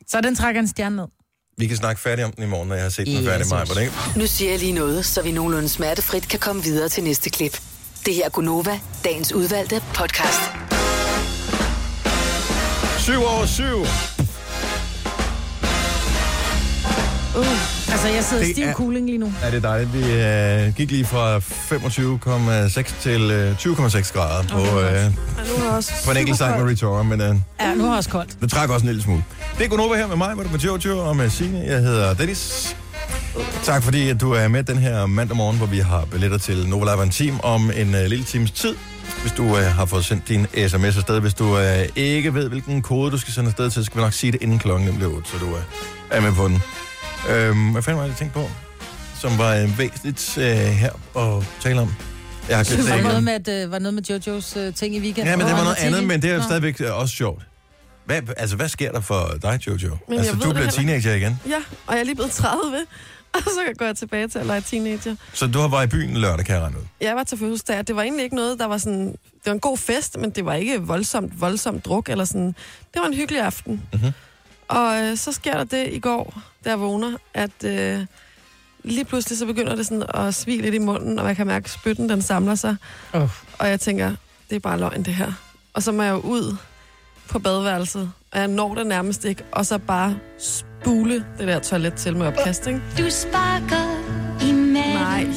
S2: Så den trækker en stjerne ned.
S1: Vi kan snakke færdig om den i morgen, når jeg har set den
S2: Ja,
S1: færdig
S2: jeg
S1: mig.
S2: synes-
S1: Hvordan?
S6: Nu siger jeg lige noget, så vi nogenlunde smertefrit kan komme videre til næste klip. Det her er Gunova, dagens udvalgte podcast.
S1: 7 over 7.
S2: Altså, jeg sidder i
S1: Det
S2: stiv
S1: er-
S2: er... cooling lige nu.
S1: Er det dejligt? Vi øh, gik lige fra 25,6 til øh, 20,6 grader på, øh,
S3: Og nu er jeg også
S1: på en enkelt
S3: super
S1: sang med
S3: kold.
S1: Ritora, men øh,
S2: Ja, nu har jeg også koldt.
S1: Det trækker også en lille smule. Det er Gunova her med mig, hvor du med Jojo og med Signe. Jeg hedder Dennis. Tak fordi at du er med den her mandag morgen, hvor vi har billetter til Nova Live Team om en øh, lille times tid. Hvis du øh, har fået sendt din sms afsted, hvis du øh, ikke ved, hvilken kode du skal sende afsted til, så skal vi nok sige det inden klokken nemlig 8, så du øh, er med på den. Øhm, hvad fanden var det, jeg tænkte på, som var øh, væsentligt øh, her at tale om? Jeg har glemt
S2: Det var,
S1: igen.
S2: noget med, at, øh, var noget med Jojos øh, ting i weekenden.
S1: Ja, men det
S2: Åh,
S1: var noget
S2: TV.
S1: andet, men det er jo
S2: Nå.
S1: stadigvæk øh, også sjovt. Hvad, altså, hvad sker der for dig, Jojo?
S3: jeg
S1: altså,
S3: ved
S1: du
S3: det
S1: bliver
S3: heller ikke.
S1: teenager igen.
S3: Ja, og jeg er lige blevet 30, og så går jeg tilbage til at lege teenager.
S1: Så du har været i byen lørdag, kan jeg regne ud.
S3: Jeg var til fødselsdag, og det var egentlig ikke noget, der var sådan... Det var en god fest, men det var ikke voldsomt, voldsomt druk eller sådan. Det var en hyggelig aften.
S1: Mhm.
S3: Og øh, så sker der det i går, da jeg vågner, at øh, lige pludselig så begynder det sådan at svige lidt i munden, og man kan mærke, at spytten den samler sig.
S2: Åh.
S3: Og jeg tænker, det er bare løgn det her. Og så må jeg jo ud på badeværelset, og jeg når det nærmest ikke, og så bare spule det der toilet til med opkast, ikke?
S10: Du sparker i maven.
S3: Nej.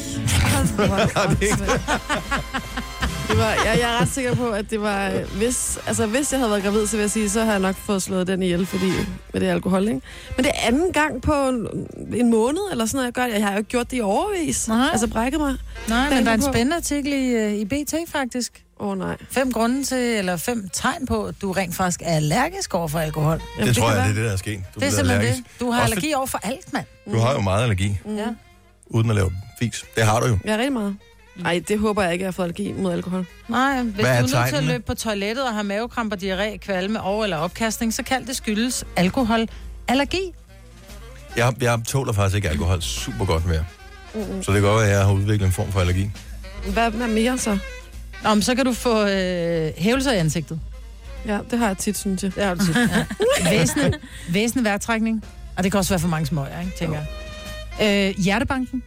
S3: det var, jeg, jeg er ret sikker på, at det var... øh, Hvis, altså, hvis jeg havde været gravid, så vil jeg sige, så havde jeg nok fået slået den ihjel, fordi med det alkohol, ikke? Men det er anden gang på en, en måned, eller sådan noget, jeg gør det. Jeg har jo ikke gjort det i overvis.
S2: Nej.
S3: Altså brækket mig.
S2: Nej, men
S3: Tænker
S2: der er en
S3: på.
S2: spændende artikel i, øh, i BT faktisk.
S3: Åh, oh, nej.
S2: Fem grunde til, eller fem tegn på, at du rent faktisk er allergisk over for alkohol.
S1: Jamen, det tror jeg, det er det, der er sket. Du
S2: Det er
S1: blevet
S2: simpelthen
S1: allergisk.
S2: det. Du har
S1: Også
S2: allergi over for alt, mand.
S1: fordi- Du har jo meget allergi,
S2: Ja.
S1: uden at lave fis. Det har du jo.
S3: Jeg er rigtig meget. Nej, det håber jeg ikke, jeg har fået allergi mod alkohol.
S2: Nej, hvis
S1: Hvad er
S2: du er nødt til at
S1: tegnene?
S2: løbe på toilettet og har mavekramper, diarré, kvalme over- eller opkastning, så kan det skyldes alkohol, allergi.
S1: Jeg, jeg tåler faktisk ikke alkohol super godt mere. Så det kan godt være, at jeg har udviklet en form for allergi.
S3: Hvad med mere så?
S2: Nå, men så kan du få øh, hævelser i ansigtet.
S3: Ja, det har jeg tit, synes jeg.
S2: Det har du tit. Ja. Væsende, væsende vejrtrækning. Og det kan også være for mange smøger, ikke, tænker jeg. Øh, hjertebanken.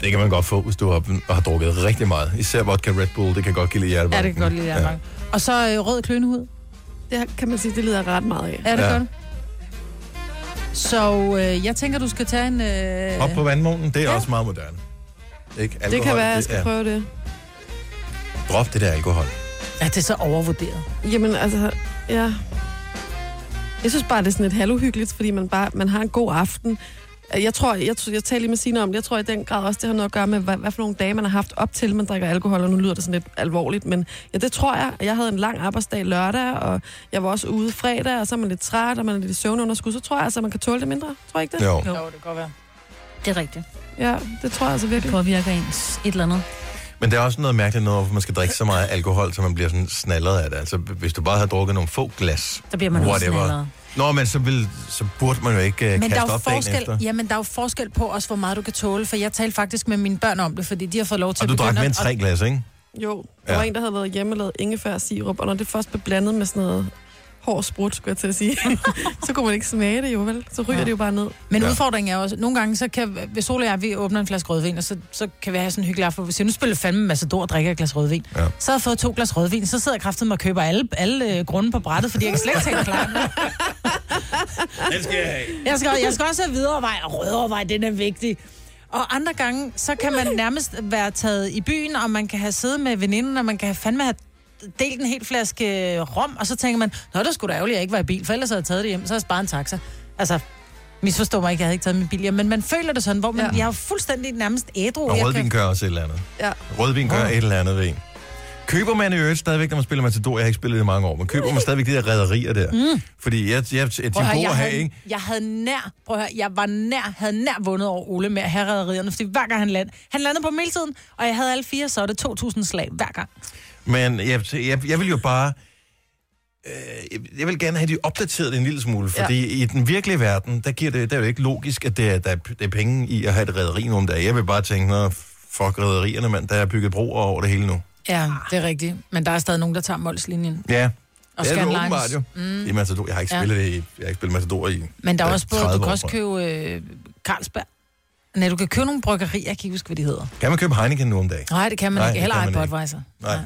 S1: Det kan man godt få, hvis du har, har drukket rigtig meget. Især vodka Red Bull, det kan godt give lidt
S2: Ja,
S1: hjertebanken.
S2: det kan godt lide hjertebanken. Ja. Og så øh, rød klønehud.
S3: Det her, kan man sige, det lider jeg ret meget af.
S2: Er det
S1: Ja.
S2: ja. godt? Så øh, jeg tænker, du skal tage en... Øh,
S1: Op på vandmånen, det er også meget moderne. Ikke? Alkohol,
S3: Det kan være, jeg
S1: er-
S3: skal prøve det.
S1: Drop det der alkohol.
S2: Ja, det er så overvurderet.
S3: Jamen, altså, ja. Jeg synes bare, det er sådan lidt halvuhyggeligt, fordi man, bare, man har en god aften. Jeg tror, jeg, tror- jeg taler lige med Signe om det, jeg tror i den grad også, det har noget at gøre med, hvad, hvad for nogle dage, man har haft op til, man drikker alkohol, og nu lyder det sådan lidt alvorligt, men ja, det tror jeg. Jeg havde en lang arbejdsdag lørdag, og jeg var også ude fredag, og så er man lidt træt, og man er lidt i søvnunderskud, så tror jeg altså, man kan tåle det mindre. Tror jeg ikke det?
S1: Jo.
S2: Jo, det kan godt være.
S4: Det er rigtigt.
S3: Ja, det tror jeg altså
S4: Det
S3: virkelig.
S4: påvirker ens et eller andet.
S1: Men der er også noget mærkeligt noget, hvorfor man skal drikke så meget alkohol, så man bliver sådan snallet af det. Altså, hvis du bare havde drukket nogle få glas,
S4: Der bliver man også
S1: whatever.
S4: snallet.
S1: Nå, men så, vil, så burde man jo ikke uh,
S2: Men
S1: kaste
S2: der er jo
S1: op dagen
S2: forskel,
S1: efter.
S2: jamen, der er jo forskel på også, hvor meget du kan tåle, for jeg talte faktisk med mine børn om det, fordi de har fået lov til
S1: Og du
S2: at
S1: drak
S2: begynde
S1: mindst
S2: at-
S1: tre glas, ikke?
S3: Jo, der ja. var en, der havde lavet hjemmelavet ingefær sirup, og når det først blev blandet med sådan noget hård sprut, skulle jeg til at sige, så kunne man ikke smage det jo, vel? Så ryger ja. det jo bare ned.
S2: Men ja. udfordringen er jo også, nogle gange, så kan, hvis Sol og jeg, vi åbner en flaske rødvin, og så, så kan vi have sådan en hyggelig aften, hvor vi siger, nu spiller vi fandme masse dår og drikker et glas rødvin. Ja. Så har jeg fået to glas rødvin, så sidder jeg kraftigt med at købe alle, alle øh, grunde på brættet, fordi jeg kan slet ikke tænke klar.
S1: Den skal jeg have.
S2: Jeg skal, jeg skal også have videreovervej, og rødovervej, den er vigtig. Og andre gange, så kan man nærmest være taget i byen, og man kan have siddet med veninden, og man kan have fandme have delt en hel flaske øh, rom, og så tænker man, nå, det skulle da ærgerligt, at jeg ikke var i bil, for ellers havde jeg taget det hjem, så havde jeg sparet en taxa. Altså, misforstå mig ikke, jeg havde ikke taget min bil hjem, men man føler det sådan, hvor man, ja. jeg er jo fuldstændig nærmest ædru.
S1: Og
S2: jeg
S1: rødvin gør også et eller andet.
S3: Ja.
S1: Rødvin gør et eller andet ved en. Køber man i øvrigt stadigvæk, når man spiller Matador? Jeg har ikke spillet det i mange år, men køber man stadigvæk de der rædderier der? Mm. Fordi jeg, jeg, jeg, jeg,
S2: Prøv at høre,
S1: jeg,
S2: jeg,
S1: her,
S2: havde,
S1: ikke?
S2: jeg havde nær, prøv at høre, jeg var nær, havde nær vundet over Ole med at have rædderierne, fordi hver gang han landede, han landede på meltiden, og jeg havde alle fire, så er det 2.000 slag hver gang.
S1: Men jeg, jeg, jeg vil jo bare... Øh, jeg vil gerne have de opdateret en lille smule, fordi ja. i den virkelige verden, der, giver det, der er jo ikke logisk, at det er, der er, der er penge i at have et rædderi nu om dagen. Jeg vil bare tænke, nå, fuck rædderierne, mand, der er bygget broer over det hele nu.
S2: Ja, det er rigtigt, men der er stadig nogen, der tager målslinjen.
S1: Ja.
S2: Og
S1: det er det
S2: Scandlines.
S1: åbenbart jo. Mm. Det er Matador. Jeg har ikke
S2: Ja.
S1: spillet, ja. det i, jeg har ikke spillet Matador i
S2: Men der er
S1: ja,
S2: også både,
S1: 30
S2: du kan
S1: år,
S2: også
S1: tror jeg.
S2: købe øh, Carlsberg. Nej, du kan købe nogle bryggerier, jeg kan ikke huske, hvad de hedder.
S1: Kan man købe Heineken nu om dagen?
S2: Nej, det kan man
S1: Nej,
S2: Nej, ikke.
S1: det
S2: Heller
S1: kan
S2: ej
S1: man ikke.
S2: Budweiser.
S1: Nej.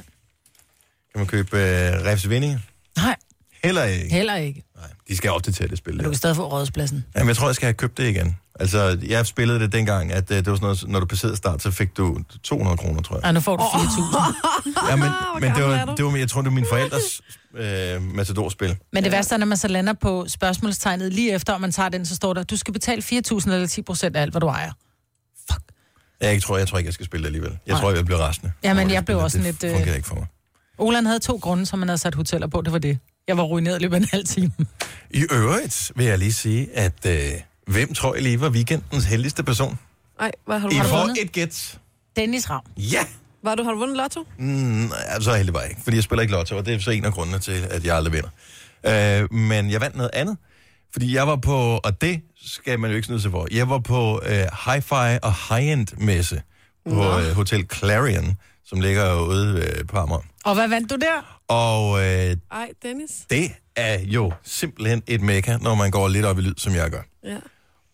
S1: Kan man købe øh, Refs Vindinge?
S2: Nej,
S1: Heller ikke.
S2: heller ikke.
S1: De skal opdatere det spil.
S2: Men du
S1: der.
S2: kan stadig få rådspladsen.
S1: Jamen, jeg tror, jeg skal have købt det igen. Altså, jeg spillede det dengang, at øh, det var sådan noget, når du passerede start, så fik du 200 kroner, tror jeg.
S2: Ej, nu får du 4.000.
S1: Ja, men, men det,
S3: gammel er
S1: var,
S3: du?
S1: det var, jeg tror, det var min forældres øh, Matador-spil.
S2: Men det værste er, når man så lander på spørgsmålstegnet lige efter, og man tager den, så står der, du skal betale 4.000 eller 10% af alt, hvad du ejer.
S1: Jeg, ikke tror, jeg tror ikke, jeg skal spille det alligevel. Jeg
S2: Nej.
S1: tror, jeg bliver restende.
S2: Jamen,
S1: over det
S2: jeg blev
S1: spil, og
S2: også
S1: det
S2: lidt,
S1: Det
S2: øh,
S1: fungerer ikke for mig.
S2: Olan havde to grunde, som han havde sat hoteller på. Det var det. Jeg var ruineret i løbet af en halv time.
S1: I øvrigt vil jeg lige sige, at øh, hvem tror jeg lige var weekendens heldigste person?
S3: Ej, hvad, har, du,
S1: I
S3: har, du
S1: får
S3: vundet?
S1: et gæt.
S2: Dennis Ravn.
S1: Ja!
S3: Var du, har du vundet lotto?
S1: Mm, ja, så heldig var jeg ikke, fordi jeg spiller ikke lotto, og det er så en af grundene til, at jeg aldrig vinder. Øh, men jeg vandt noget andet, fordi jeg var på, og det skal man jo ikke snyde sig for, jeg var på øh, Hi-Fi og High-End-messe på øh, Hotel Clarion, som ligger ude øh, på Amager.
S2: Og hvad vandt du der?
S1: Og øh,
S3: Ej, Dennis.
S1: det er jo simpelthen et mekka, når man går lidt op i lyd, som jeg gør.
S3: Ja.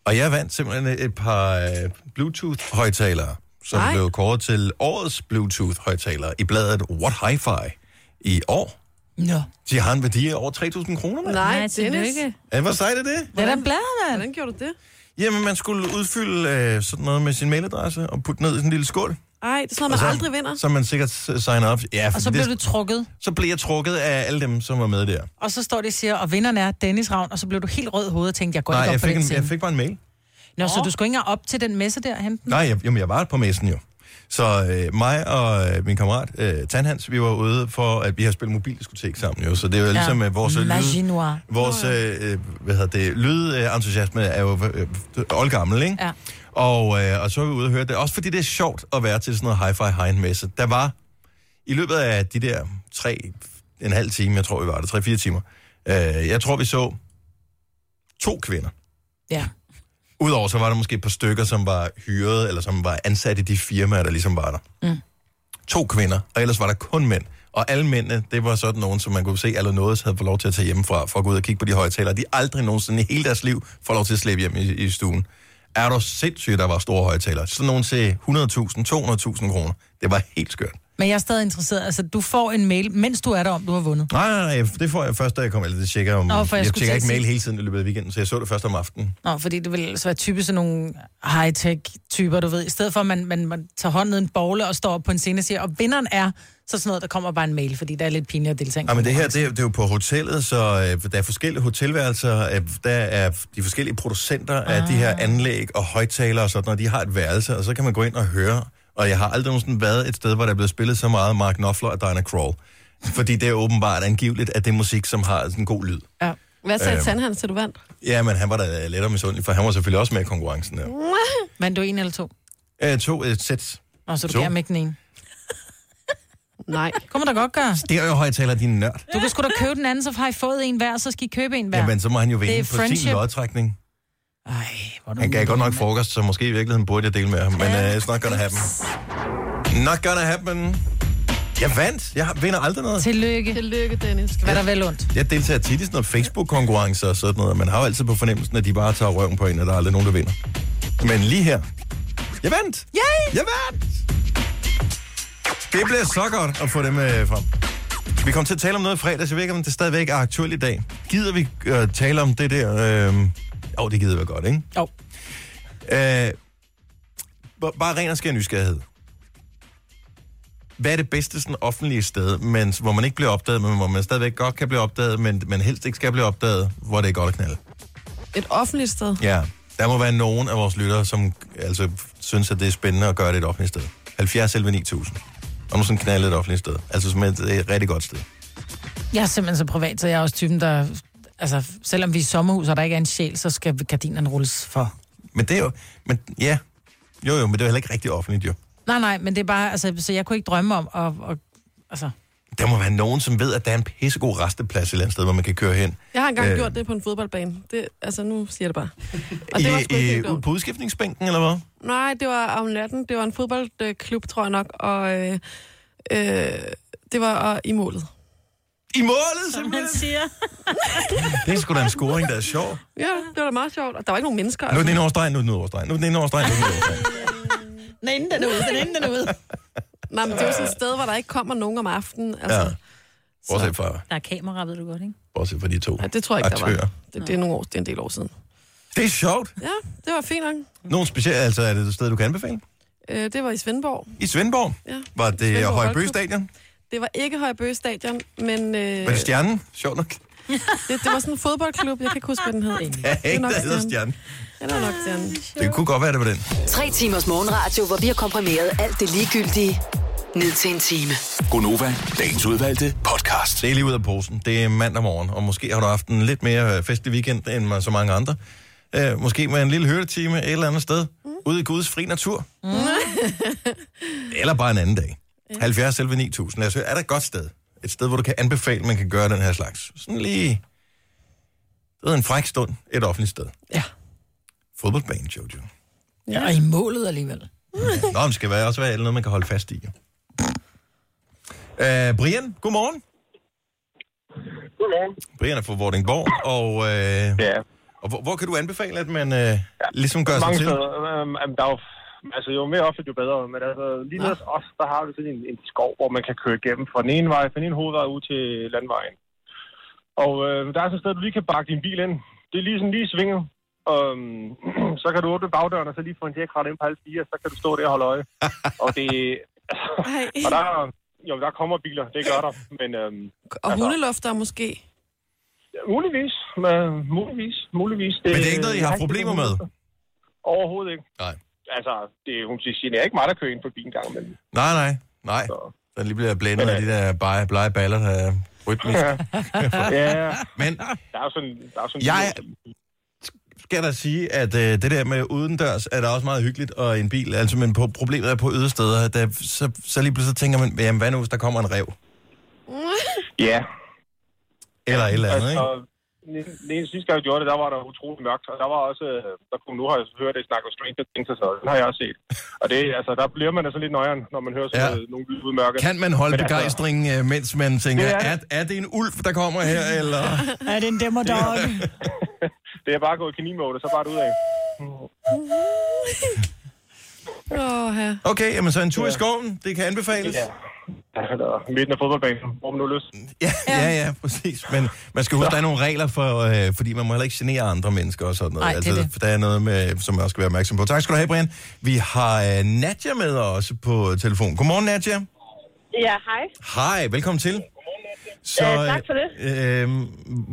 S1: Og jeg vandt simpelthen et par øh, Bluetooth-højtalere, som Ej.
S3: Ej.
S1: blev kåret til årets Bluetooth-højtalere i bladet What Hi-Fi i år.
S2: Nå.
S1: De har en værdi af over 3.000 kroner, mand.
S3: Nej,
S4: Nej,
S3: Dennis.
S4: tillykke.
S1: Ja, Hvor sejt er det?
S2: Det er da bladet, mand.
S3: Hvordan gjorde du det?
S1: Jamen, man skulle udfylde øh, sådan noget med sin mailadresse og putte ned i sådan en lille skål.
S3: Ej, det er sådan noget,
S1: Og
S3: man
S1: så-
S3: aldrig vinder.
S1: Så man sikkert s- signer op. Ja,
S2: Og
S1: fordi
S2: så blev
S1: det,
S2: du trukket,
S1: så blev jeg trukket af alle dem, som var med der.
S2: og så står det og siger, og vinderen er Dennis Ravn, og så blev du helt rød i hovedet og tænkte, jeg går
S1: Nej,
S2: ikke op
S1: jeg
S2: på
S1: fik,
S2: den
S1: en,
S2: scene.
S1: jeg fik bare en mail.
S2: Nå, så du skulle ikke engang op til den messe der og hente den?
S1: Nej, jeg, jamen, jeg var på messen jo. Så øh, mig og øh, min kammerat øh, Tanhans, vi var ude for, at vi har spillet mobildiskotek sammen jo, så det er jo ja. ligesom øh, vores... øh, lyd-
S2: Maginois.
S1: Vores, øh, øh, hvad hedder det, lydentusiasme er jo øh, oldgammel, ikke?
S2: Ja.
S1: Og, øh, og så var vi ude og høre det. Også fordi det er sjovt at være til sådan noget hi-fi high messe Der var, i løbet af de der tre, en halv time, jeg tror vi var det, tre-fire timer, øh, jeg tror vi så to kvinder.
S2: Ja.
S1: Udover så var der måske et par stykker, som var hyret, eller som var ansat i de firmaer, der ligesom var der.
S2: Mm.
S1: To kvinder, og ellers var der kun mænd. Og alle mændene, det var sådan nogen, som man kunne se allerede noget, havde fået lov til at tage hjemmefra, for at gå ud og kigge på de højtalere. De aldrig nogensinde i hele deres liv får lov til at slæbe hjem i, i stuen. Er du sindssygt, der var store højtalere? Sådan nogen til 100.000, 200.000 kroner. Det var helt skørt.
S2: Men jeg er stadig interesseret. Altså, du får en mail, mens du er der, om du har vundet.
S1: Nej, nej, nej, det får jeg først, da jeg kom. Eller det tjekker jeg om,
S2: Nå, for jeg
S1: jeg, jeg
S2: skulle til
S1: tjekker
S2: at
S1: ikke mail
S2: sige-
S1: hele tiden i løbet af weekenden, så jeg så det først om aftenen.
S2: Nå, fordi det vil altså være typisk sådan nogle high-tech-typer, du ved. I stedet for, at man, man, man tager hånden ned i en bogle og står op på en scene og siger, og vinderen er, så sådan noget, der kommer bare en mail, fordi der er lidt pinligt at deltage. i en
S1: Ja, Ah, men det her, det, er-
S2: konkurrence.
S1: det er jo på hotellet, så øh, der er forskellige hotelværelser, øh, der er de forskellige producenter ah. af de her anlæg og højtalere og sådan noget, de har et værelse, og så kan man gå ind og høre, og jeg har aldrig nogensinde været et sted, hvor der er blevet spillet så meget Mark Knopfler og Diana Krall, fordi det er åbenbart angiveligt, at det er musik, som har sådan en god lyd.
S2: Ja.
S3: Hvad sagde
S1: Øhm.
S3: øh. Sandhans, til du vandt?
S1: Ja, men han var da lettere misundelig, for han var selvfølgelig også med i konkurrencen der.
S2: Men du er en eller to.
S1: Øh, to et sæt
S2: Nå, så du
S1: To.
S2: kan ikke den ene.
S3: Nej.
S2: Kunne man da godt gøre.
S1: stereo-højtaler, din nørd.
S2: Du kan sgu da købe den anden, så har I fået en hver, så skal I købe en hver.
S1: Jamen, så må han jo
S2: Det
S1: vinde
S2: er
S1: på sin
S2: friendship.
S1: lodtrækning.
S2: Ej, hvor er du
S1: Han gav
S2: ude,
S1: godt nok
S2: mand.
S1: frokost, så øh, måske i virkeligheden burde jeg dele med ham, men uh, it's not gonna happen. Not gonna happen. Jeg vandt. Jeg vinder aldrig noget.
S2: Tillykke.
S3: Tillykke, Dennis.
S2: Hvad der vel ondt.
S1: Jeg deltager tit i sådan noget Facebook-konkurrencer og sådan noget, og man har jo altid på fornemmelsen, at de bare tager røven på en, og der er aldrig nogen, der vinder. Men lige her, jeg vandt! Yay! Jeg vandt! Det bliver så godt at få dem øh, frem. Vi kom til at tale om noget i fredags, jeg ved ikke, om det stadigvæk er aktuelt i dag. Gider vi øh, tale om det der? Øh... Jo, det gider vi godt, ikke?
S2: Jo.
S1: Øh, b- bare ren og skær nysgerrighed. Hvad er det bedste sådan offentlige sted, men, hvor man ikke bliver opdaget, men hvor man stadigvæk godt kan blive opdaget, men man helst ikke skal blive opdaget, hvor det er godt at knalde?
S3: Et offentligt sted.
S1: Ja, der må være nogen af vores lyttere, som altså, synes, at det er spændende at gøre det et offentligt sted. 70 11 9000. Om sådan knaldet et offentligt sted. Altså som et, et rigtig godt sted.
S2: Jeg er simpelthen så privat, så jeg er også typen, der... Altså, selvom vi er i sommerhus, og der ikke er en sjæl, så skal gardinerne rulles for.
S1: Men det er jo... Men, ja. Jo, jo, men det er jo heller ikke rigtig offentligt, jo.
S2: Nej, nej, men det er bare... Altså, så jeg kunne ikke drømme om at... at altså,
S1: Der må være nogen, som ved, at der er en pissegod resteplads et eller andet sted, hvor man kan køre hen.
S3: Jeg har engang
S1: Øh,
S3: øh. gjort det på en fodboldbane. Det, altså, nu siger jeg det bare. Og det var sgu ikke
S1: I, i,
S3: helt dumt.
S1: på udskiftningsbænken, eller hvad?
S3: Nej, det var om natten. Det var en fodboldklub, tror jeg nok, og øh, øh, det var øh, i målet.
S1: I målet,
S4: som man siger.
S1: Det er sgu da en scoring, der er sjov.
S3: Ja, det var da meget sjovt, og der var ikke nogen mennesker.
S1: Nu er den ene
S3: altså.
S1: over stregen, nu er den over stregen. Nu er den ene over stregen, nu er den over stregen.
S2: Den ene, den er ude, den ene, den er ude.
S3: Nej, men det var sådan et sted, hvor der ikke kommer nogen om aftenen. Altså,
S1: Ja. Bortset fra,
S4: Der er kamera, ved du godt, ikke?
S1: bortset fra de to
S3: ja. det tror jeg ikke, der
S1: aktører.
S3: var. Det, det, er nogle år, det er en del år siden.
S1: Det er sjovt.
S3: Ja, det var fint nok.
S1: Nogle specielle, altså er det et sted, du kan anbefale?
S3: Øh, det var i Svendborg.
S1: I Svendborg?
S3: Ja.
S1: Var det
S3: Svendborg
S1: Højbø
S3: Boldklub.
S1: Stadion?
S3: Det var ikke Højbø Stadion, men øh,
S1: Var det Stjernen? Sjovt nok.
S3: det, det, var sådan en fodboldklub. Jeg kan ikke huske, hvad den hed.
S1: Ja, ikke, der hedder Stjernen.
S3: Ja, det var nok Stjernen.
S1: Det kunne godt være, det var den.
S6: Tre timers morgenradio, hvor vi har komprimeret alt det ligegyldige ned til en time.
S5: Gonova, dagens udvalgte podcast.
S1: Det er lige ud af posen. Det er mandag morgen, og måske har du haft en lidt mere øh, festlig weekend end man- så mange andre. Øh, måske med en lille høretime et eller andet sted. Mm. Ude i Guds fri natur. Mm. eller bare en anden dag. 70 selv 9000. Lad os høre, er der et godt sted? Et sted, hvor du kan anbefale, man kan gøre den her slags. Sådan lige... Det er en fræk stund. Et offentligt sted.
S2: Ja.
S1: Fodboldbanen, Jojo.
S2: Ja, og i målet alligevel.
S1: Nå, men det skal være, også være noget, man kan holde fast i. jo. Øh, Brian, godmorgen.
S11: Godmorgen.
S1: Brian er fra Vordingborg, og, øh,
S11: Ja.
S1: og hvor, hvor kan du anbefale, at man øh, ligesom gør sig
S11: Mange
S1: til?
S11: steder. øhm, øhm, der er jo, altså, jo mere offentligt, jo bedre. Men altså, lige nede hos os, der har vi sådan en, en skov, hvor man kan køre igennem fra den ene vej, fra den ene hovedvej ud til landvejen. Og øh, der er sådan et sted, du lige kan bakke din bil ind. Det er lige sådan lige svinget. Og, øhm, så kan du åbne bagdøren, og så lige få en jackrat ind på halv fire, så kan du stå der og holde øje. og det... og der, jo, der kommer biler, det gør der. Men, øhm,
S3: Og hundelufter måske.
S11: Ja, muligvis. Men, muligvis. Muligvis.
S1: Men det er ikke noget, I har
S11: jeg
S1: problemer med?
S11: Overhovedet ikke.
S1: Nej.
S11: Altså, det, hun siger, det er ikke mig, der kører ind forbi en gang imellem.
S1: Nej, nej, nej. Den lige bliver blændet af de der blege, blege baller, der er rytmisk.
S11: øh, ja.
S1: Men
S11: der er jo sådan... Der er sådan
S1: Jeg skal da sige, at øh, det der med udendørs er da også meget hyggeligt, og en bil, altså, men på, problemet er på ydersteder, der, så, så lige pludselig tænker man, jamen hvad nu, hvis der kommer en rev?
S11: Ja.
S1: Eller et eller andet, ikke?
S11: ikke? altså, Den ene sidste gang, jeg gjorde det, der var der utrolig mørkt, og der var også, øh, der kunne nu har jeg hørt det snakke om Stranger Things og sådan, den har jeg også set. Og det, altså, der bliver man altså lidt nøjeren, når man hører sådan
S1: Ja.
S11: ja. nogle lyde ud i mørket.
S1: Kan man holde
S11: altså, Men altså-
S1: begejstringen, øh, mens man tænker,
S11: Det er
S1: er, er det en ulv, der kommer her, eller...
S2: Er det en demmerdog?
S11: Det er bare gået i kaninmode, og så bare ud af.
S3: Åh, her.
S1: Okay, jamen så en tur i skoven, det kan anbefales.
S11: Ja. Eller midten af fodboldbanen, hvor man nu har lyst.
S1: Ja, ja, ja, præcis. Men man skal huske, der er nogle regler, for, øh, fordi man må heller ikke genere andre mennesker og sådan noget. Altså,
S2: Nej, det er det.
S1: For der er noget, med, som man også skal være opmærksom på. Tak skal du have, Brian. Vi har øh, Nadja med os på telefon. Godmorgen, Nadja.
S12: Ja, hej.
S1: Hej, velkommen til.
S12: Ja, tak for det.
S1: Øh, øh,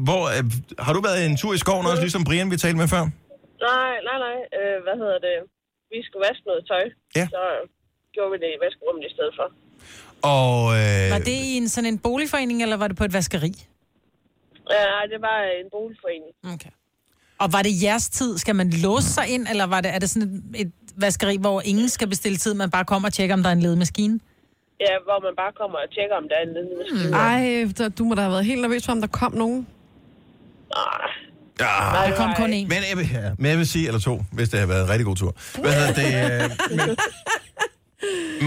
S1: hvor, øh, har du været en tur i skoven
S12: Mm.
S1: også, ligesom Brian, vi talte med før?
S12: Nej, nej, nej. Øh, hvad hedder det? Vi skulle vaske noget tøj.
S1: Ja.
S12: Så øh, gjorde vi det i vaskerummet i stedet for.
S1: Og, øh,
S2: Var det i en, sådan en boligforening, eller var det på et vaskeri?
S12: Ja, nej, det var øh, en boligforening.
S2: Okay. Og var det jeres tid? Skal man låse sig ind, eller var det, er det sådan et, et vaskeri, hvor ingen skal bestille tid, man bare kommer og tjekker, om der er en ledig maskine?
S12: Ja, hvor man bare kommer og tjekker, om der er en lille maskine.
S3: Ej, der- du må da have været helt nervøs for, om der kom nogen.
S1: Ja.
S2: Der kom kun en.
S1: Men jeg, vil, ja, men jeg vil sige, eller to, hvis det har været en rigtig god tur. Hvad hedder det? Øh, men,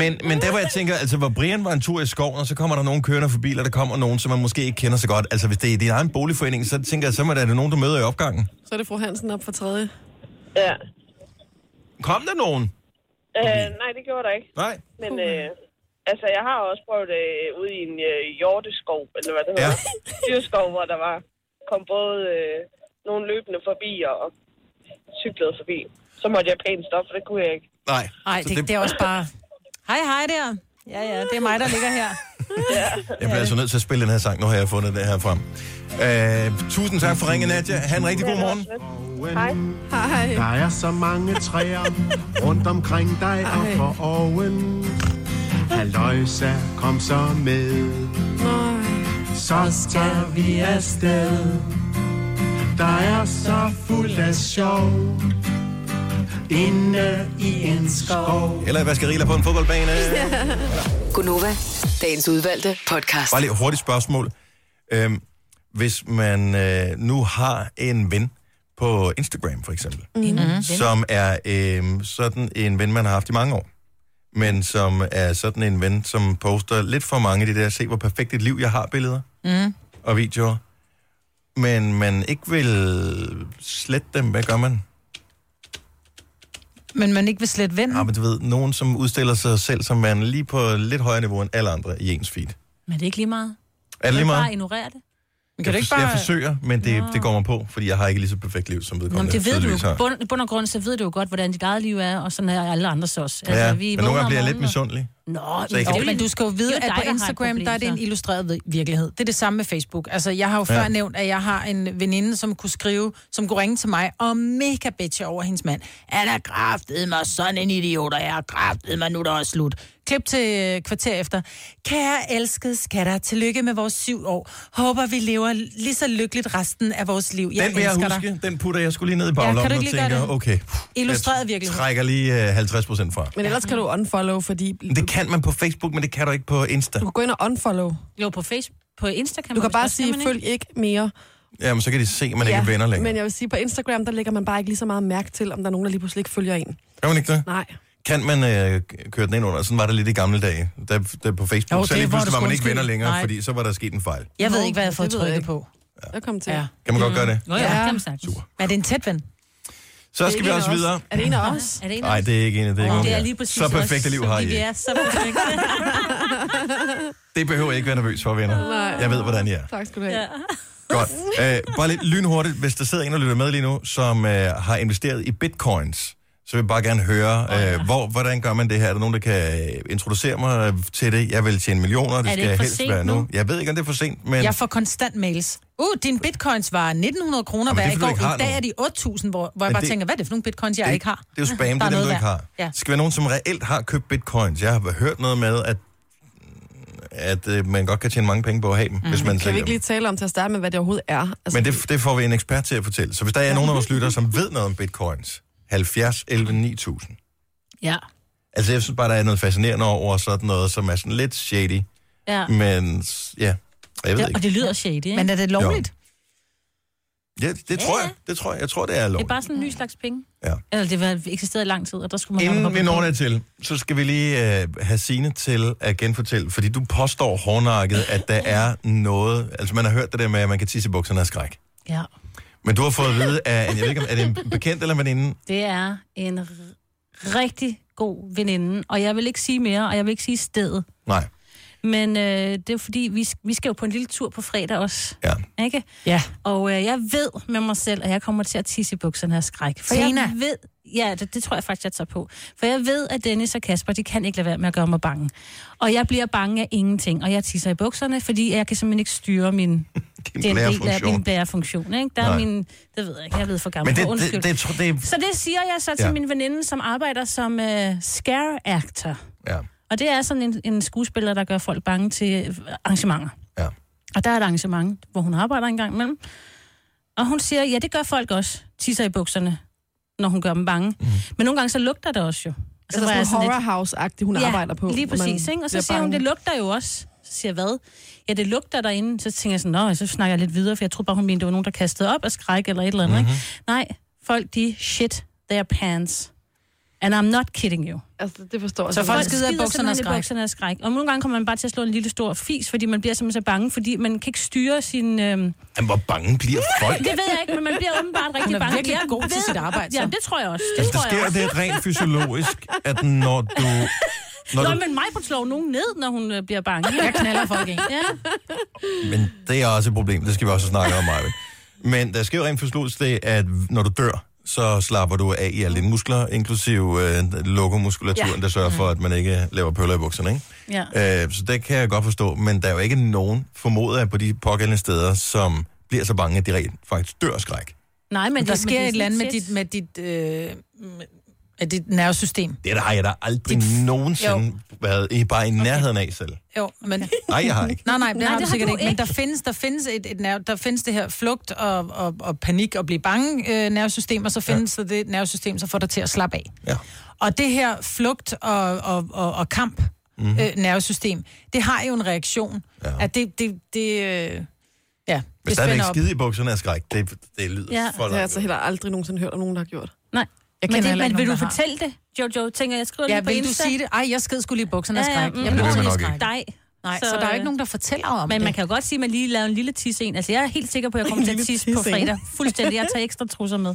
S1: Men, men der hvor jeg tænker, altså hvor Brian var en tur i skoven, og så kommer der nogen kørende forbi, eller der kommer nogen, som man måske ikke kender så godt. Altså hvis det er din egen boligforening, så tænker jeg, så må der er nogen, du møder i opgangen.
S3: Så er det fru Hansen op for tredje.
S12: Ja.
S1: Kom der nogen?
S12: Øh, nej, det gjorde der ikke.
S1: Nej.
S12: Men øh, altså, jeg har også prøvet det øh, ude i en øh, hjorteskov, eller hvad det hedder. Ja. Dyrskov, hvor der var, kom både øh, nogle løbende forbi og cyklede forbi. Så måtte jeg pænt stoppe, for det kunne jeg ikke.
S1: Nej.
S2: Nej,
S12: Så
S2: det, det,
S12: det-
S2: det, er også bare... Hej, hej der. Mm. Ja, ja, det er mig, der ligger her.
S1: Jeg bliver altså nødt til at spille den her sang. Nu har jeg fundet det her frem. Øh, tusind tak for ringen, Nadja. Ha' en rigtig god morgen.
S12: Hej.
S3: Hej.
S13: Der er så mange træer rundt omkring dig og for oven. Halløjsa, kom så med. Så tager vi afsted. Der er så fuld af sjov. Inde i en skov.
S1: Eller i vaskeriler på en fodboldbane.
S6: Gunova, dagens udvalgte podcast.
S1: Bare lige et hurtigt spørgsmål. Øhm, hvis man øh, nu har en ven på Instagram, for eksempel,
S4: Mm.
S2: Mm.
S6: Mhm.
S1: som er øh, sådan en ven, man har haft i mange år, men som er sådan en ven, som poster lidt for mange af de der, se hvor perfekt et liv jeg har billeder
S2: Mm.
S1: og videoer, men man ikke vil slette dem, hvad gør man?
S2: Men man ikke vil slet vende.
S1: Ja, Ah, men du ved, nogen som udstiller sig selv som man lige på lidt højere niveau end alle andre i ens feed.
S4: Men det er ikke lige meget.
S1: Er det lige meget?
S4: Bare ignorere det.
S1: jeg, fors- jeg forsøger, men det, det går mig på, fordi jeg har ikke lige så perfekt liv, som
S4: Nå, men
S1: vedkommende
S4: det ved du
S1: tydeligvis
S4: jo.
S1: har.
S4: Bund, bund og grund, så ved du jo godt, hvordan dit eget liv er, og sådan er alle andres også. Altså,
S1: ja, men nogle
S4: vågner om
S1: gange bliver jeg lidt
S4: morgenen, og-
S1: misundelig.
S4: Nå,
S1: Så I kan-
S2: Jo, men du skal jo vide,
S4: Det er
S2: at
S4: jo dig,
S2: på
S4: der har et
S2: Instagram,
S4: problem,
S2: der er det en
S4: så.
S2: illustreret vi- virkelighed. Det er det samme med Facebook. Altså, jeg har jo før
S4: Ja.
S2: nævnt, at jeg har en veninde, som kunne skrive, som kunne ringe til mig og mega bitch over hendes mand. Han er kraftet mig, sådan en idiot, og jeg er kraftet mig, nu er det også slut. Klip til øh, kvarter efter. Kære elskede skatter, tillykke med vores syv år. Håber, vi lever lige så lykkeligt resten af vores liv. Jeg
S1: den vil jeg
S2: elsker
S1: huske,
S2: dig.
S1: den putter jeg skulle lige ned i
S2: Ja, kan
S1: baglommen
S2: du
S1: og
S2: ikke lige
S1: tænker,
S2: gøre det?
S1: okay,
S2: Illustreret
S1: jeg
S2: virkelighed.
S1: trækker lige øh, 50 procent fra.
S3: Men ellers kan du unfollow, fordi...
S1: Det kan man på Facebook, men det kan du ikke på Insta.
S3: Du kan gå ind og unfollow.
S4: Jo, på Facebook. På Insta kan
S3: Du
S4: man
S3: kan
S4: vist
S3: bare
S4: også,
S3: sige,
S4: man
S3: følg ikke mere.
S1: Jamen, så kan de se, at man ikke er venner længere.
S3: Men jeg vil sige, på Instagram, der lægger man bare ikke lige så meget mærke til, om der er nogen, der lige pludselig ikke følger en.
S1: Kan man ikke det?
S3: Nej.
S1: Kan man øh, k- køre den ind under? Sådan var det lidt i gamle dage. Der, der på Facebook,
S2: Jo,
S1: så
S2: det
S1: lige
S2: var
S1: pludselig
S2: det
S1: var man
S2: sgu
S1: ikke venner
S2: undskyld.
S1: længere,
S2: Nej.
S1: fordi så var der sket en fejl.
S2: Jeg ved ikke, hvad jeg har
S3: det
S2: fået
S3: ved jeg
S2: trykket
S3: ikke.
S2: på.
S3: Ja. Jeg kom til.
S2: Ja.
S1: Kan man godt gøre det?
S4: Nå ja, det kan man sagtens.
S2: Men er det en tæt ven?
S1: Så skal vi også videre.
S3: Er det en af os?
S4: Er det en
S1: Nej, det er ikke en af det. er ikke
S4: Åh,
S1: nogen
S4: det er
S1: af jer.
S4: lige præcis
S1: så perfekt et
S4: os,
S1: liv
S4: som
S1: har I.
S4: vi
S1: ikke.
S4: er så perfekte.
S1: Det behøver I ikke være nervøs for, venner.
S3: Nej.
S1: Jeg ved, hvordan I er.
S3: Tak skal du have. Ja.
S1: Godt. Øh, bare lidt lynhurtigt, hvis der sidder en og lytter med lige nu, som øh, har investeret i bitcoins, så vil jeg bare gerne høre, øh, hvor, hvordan gør man det her? Er der nogen, der kan øh, introducere mig øh, til det? Jeg vil tjene millioner, det,
S2: Er det
S1: skal
S2: ikke for
S1: helst
S2: sent
S1: være nu.
S2: nu?
S1: Jeg ved ikke, om det er for sent, men...
S2: Men... Jeg får konstant mails. Uh, dine bitcoins var 1900 kroner
S1: Jamen, det er,
S2: hver i
S1: fordi du
S2: går.
S1: ikke har
S2: I dag er
S1: nogen.
S2: de 8000, hvor, hvor
S1: Men
S2: jeg
S1: det-
S2: bare det... tænker, hvad er det for nogle bitcoins, jeg
S1: det, er
S2: ikke har?
S1: Det er jo spam,
S2: Der
S1: det er dem,
S2: noget
S1: du ikke
S2: værd.
S1: har.
S2: Ja.
S1: Ja. Skal være nogen, som reelt har købt bitcoins. Jeg har hørt noget med, at, at øh, man godt kan tjene mange penge på at have dem, mm. hvis man
S3: Kan vi
S1: sælger
S3: ikke
S1: dem.
S3: lige tale om til at starte med, hvad det overhovedet er? Altså,
S1: Men det, det får vi en ekspert til at fortælle. Så hvis der er nogen af vores lyttere, som ved noget om bitcoins, 70 11 9000.
S4: Ja.
S1: Altså, jeg synes bare, der er noget fascinerende over sådan noget, som er sådan lidt shady.
S4: ja.
S1: Men s- ja, og Mm, jeg ved
S4: Ah. Ja,
S1: ikke.
S4: og det lyder shady, ikke?
S2: Men er det lovligt?
S1: Ja, det tror jeg. Det tror jeg. Jeg tror, det er
S4: Det er
S1: lovligt.
S4: bare sådan en ny slags penge.
S1: Ja.
S4: Eller det var eksisteret i lang tid, og der skulle man
S1: Inden
S4: hoppe
S1: vi
S4: på.
S1: når det til, så skal vi lige øh, have Signe til at genfortælle, fordi du påstår hårdnakket, at der er noget... Altså, man har hørt det der med, at man kan tisse i bukserne af skræk.
S4: Ja.
S1: Men du har fået at vide af, en, jeg ved ikke, om- er det en bekendt eller en veninde?
S4: Det er en r- rigtig god veninde, og jeg vil ikke sige mere, og jeg vil ikke sige stedet.
S1: Nej.
S4: Men øh, det er fordi, vi, vi skal jo på en lille tur på fredag også. Ja. Ikke?
S2: Ja.
S4: Og øh, jeg ved med mig selv, at jeg kommer til at tisse i bukserne af skræk. For
S2: Tina.
S4: jeg ved, ja, det, det tror jeg faktisk, jeg tager på. For jeg ved, at Dennis og Kasper, de kan ikke lade være med at gøre mig bange. Og jeg bliver bange af ingenting, og jeg tisser i bukserne, fordi jeg kan simpelthen ikke styre min... den del af
S1: blærefunktion.
S4: min blærefunktion. Ikke? Der er
S1: Nej.
S4: min... Det ved jeg ikke, jeg er blevet for gammel.
S1: Men det,
S4: for,
S1: det,
S4: undskyld.
S1: det, det, tror- det,
S4: Så det siger jeg så til
S1: Ja.
S4: ja. min veninde, som arbejder som øh, scare actor.
S1: Ja.
S4: Og det er sådan en, en skuespiller, der gør folk bange til øh, arrangementer.
S1: Ja.
S4: Og der er et arrangement, hvor hun arbejder en gang imellem. Og hun siger, ja, det gør folk også. Tisser i bukserne, når hun gør dem bange.
S1: Mhm.
S4: Mm. Men nogle gange så lugter det også jo. Og
S3: Så der
S4: var
S3: er
S4: jeg
S3: sådan
S4: lidt-
S3: horror house-agtigt, hun
S4: ja,
S3: arbejder på.
S4: lige
S3: hvor man
S4: præcis. Ikke? Og så
S3: bliver
S4: siger hun,
S3: bange.
S4: det lugter jo også. Så siger jeg, hvad? Ja, det lugter derinde. Så tænker jeg sådan, nå, så snakker jeg lidt videre, for jeg troede bare, hun mente, det var nogen, der kastede op af skræk eller et eller andet. Mm-hmm. Ikke? Nej, folk de shit their pants. And I'm not kidding you.
S3: Altså, det forstår jeg
S4: Så
S3: simpelthen
S4: folk
S3: ikke.
S4: skider i bukserne af
S3: simpelthen
S4: skræk. Bukserne af skræk. Og nogle gange kommer man bare til at slå en lille stor fis, fordi man bliver simpelthen så bange, fordi man kan ikke styre sin... Øhm...
S1: Jamen, hvor bange bliver folk?
S4: Det ved jeg ikke, men man bliver åbenbart rigtig
S2: Hun er
S4: bange.
S2: virkelig
S4: Jeg
S2: god til
S4: ved-
S2: sit arbejde, så.
S4: Ja, det tror jeg også. Det
S1: Altså, der
S4: tror jeg
S1: sker
S4: også.
S1: det rent fysiologisk, at når du...
S4: Nå,
S1: Når du
S4: men mig på slår nogen ned, når hun øh, bliver bange.
S2: Jeg knalder folk en.
S4: Ja.
S1: men det er også et problem, det skal vi også snakke om, Maja. Men der sker jo rent fysiologisk det, at når du dør, så slapper du af i alle dine muskler, inklusive øh, lokomuskulaturen,
S4: Ja.
S1: ja. der sørger for, at man ikke laver pøller i bukserne, ikke?
S4: ja.
S1: Øh, så det kan jeg godt forstå, men der er jo ikke nogen, formoder jeg, på de pågældende steder, som bliver så bange, at de rent faktisk dør af skræk.
S4: Nej,
S2: men der
S4: det- men det
S2: sker
S4: er
S2: et eller andet med
S4: sådan
S2: dit, med dit, øh, med- af dit nervesystem.
S1: Det der har jeg da aldrig nogensinde været i, bare i nærheden af selv.
S2: Jo, men...
S1: Nej, jeg har ikke.
S2: Nej, nej, det
S4: Nej,
S2: har
S4: det
S2: du
S4: har
S2: sikkert
S4: du
S2: ikke. Men
S4: ikke.
S2: der findes, der findes, et, et nerve, der findes det her flugt og, og, og panik og blive bange øh, nervesystem, og så findes ja. der det nervesystem, som får dig til at slappe af.
S1: Ja.
S2: Og det her flugt og, og, og, og kamp mm-hmm. øh, nervesystem, det har jo en reaktion. Ja. At det, det, det øh, ja,
S1: Men
S2: det
S1: stadigvæk
S2: spænder op.
S1: skide i bukserne af skræk, det, det lyder
S4: Ja,
S3: Det
S1: for
S3: har jeg
S1: langt.
S3: altså heller aldrig nogensinde hørt om nogen, der har gjort.
S4: Nej.
S2: Jeg
S4: men
S2: kender
S4: det,
S2: heller
S4: men
S2: ikke
S4: vil du
S2: nogen, der har.
S4: fortælle det, Jojo? Tænker jeg, jeg skriver
S2: Ja,
S4: lige på
S2: vil du
S4: Insta.
S2: sige det? Ej, jeg sked skulle lige i bukserne af
S4: Ja,
S2: skræk.
S4: ja,
S2: Jeg
S4: mm.
S2: blev
S4: Det vil
S2: til
S4: man
S2: at
S1: nok
S2: skrække.
S4: dig.
S2: Nej, så, så der er ikke nogen, der fortæller om
S4: Men
S2: det.
S4: man kan jo godt sige, at man lige lavede en lille tisse en. Altså, jeg er helt sikker på, at jeg kommer til at tisse på
S2: tisse en.
S4: fredag. Fuldstændig. Jeg tager ekstra trusser med.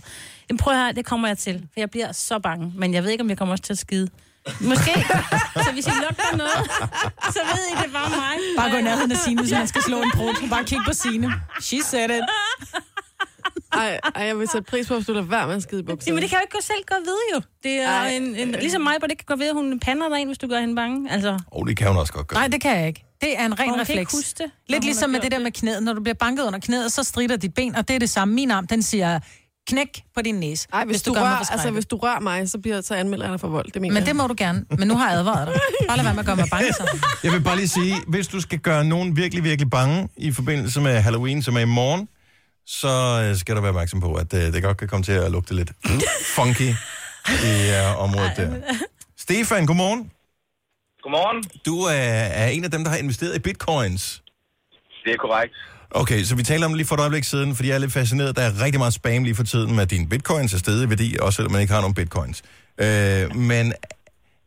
S4: Men prøv her, det kommer jeg til. For jeg bliver så bange. Men jeg ved ikke, om jeg kommer også til at skide. Måske. så hvis I lugter noget, så ved I, det var mig.
S2: Bare gå i nærheden af Signe, hvis man skal slå en brud. Bare kig på Signe. She said it.
S3: Ej, ej, jeg vil sætte pris på, hvis du lader være med at skide i bukserne.
S4: Jamen, det kan jeg jo ikke selv godt vide, jo. Det er
S3: Ej.
S4: en, en, ligesom mig, hvor det kan godt vide, at hun pander dig ind, hvis du gør hende bange. Altså,
S1: Og det kan hun også godt gøre.
S2: Nej, det kan jeg ikke. Det er en ren
S4: Hun kan
S2: refleks.
S4: ikke huske det, når
S2: Lidt
S4: hun
S2: ligesom
S4: har
S2: med
S4: gjort
S2: det der med knæet. Når du bliver banket under knæet, så strider dit ben, og det er det samme. Min arm, den siger knæk på din næse,
S3: Ej, hvis, hvis, du,
S2: gør mig
S3: rører, altså,
S2: forskrækket.
S3: hvis du rører mig, så, bliver, så anmelder jeg dig for vold. Det mener
S2: Men det må du gerne. Men nu har jeg advaret dig. Bare lad være med at gøre mig bange så.
S1: Jeg vil bare lige sige, hvis du skal gøre nogen virkelig, virkelig bange i forbindelse med Halloween, som er i morgen, så øh, skal du være opmærksom på, at øh, det godt kan komme til at lugte lidt funky i øh, området der. Stefan, godmorgen.
S14: Godmorgen.
S1: Du øh, er en af dem, der har investeret i bitcoins.
S14: Det er korrekt.
S1: Okay, så vi taler om det lige for et øjeblik siden, fordi jeg er lidt fascineret. Der er rigtig meget spam lige for tiden med, at dine bitcoins er steget i værdi, også selvom man ikke har nogen bitcoins. Øh, men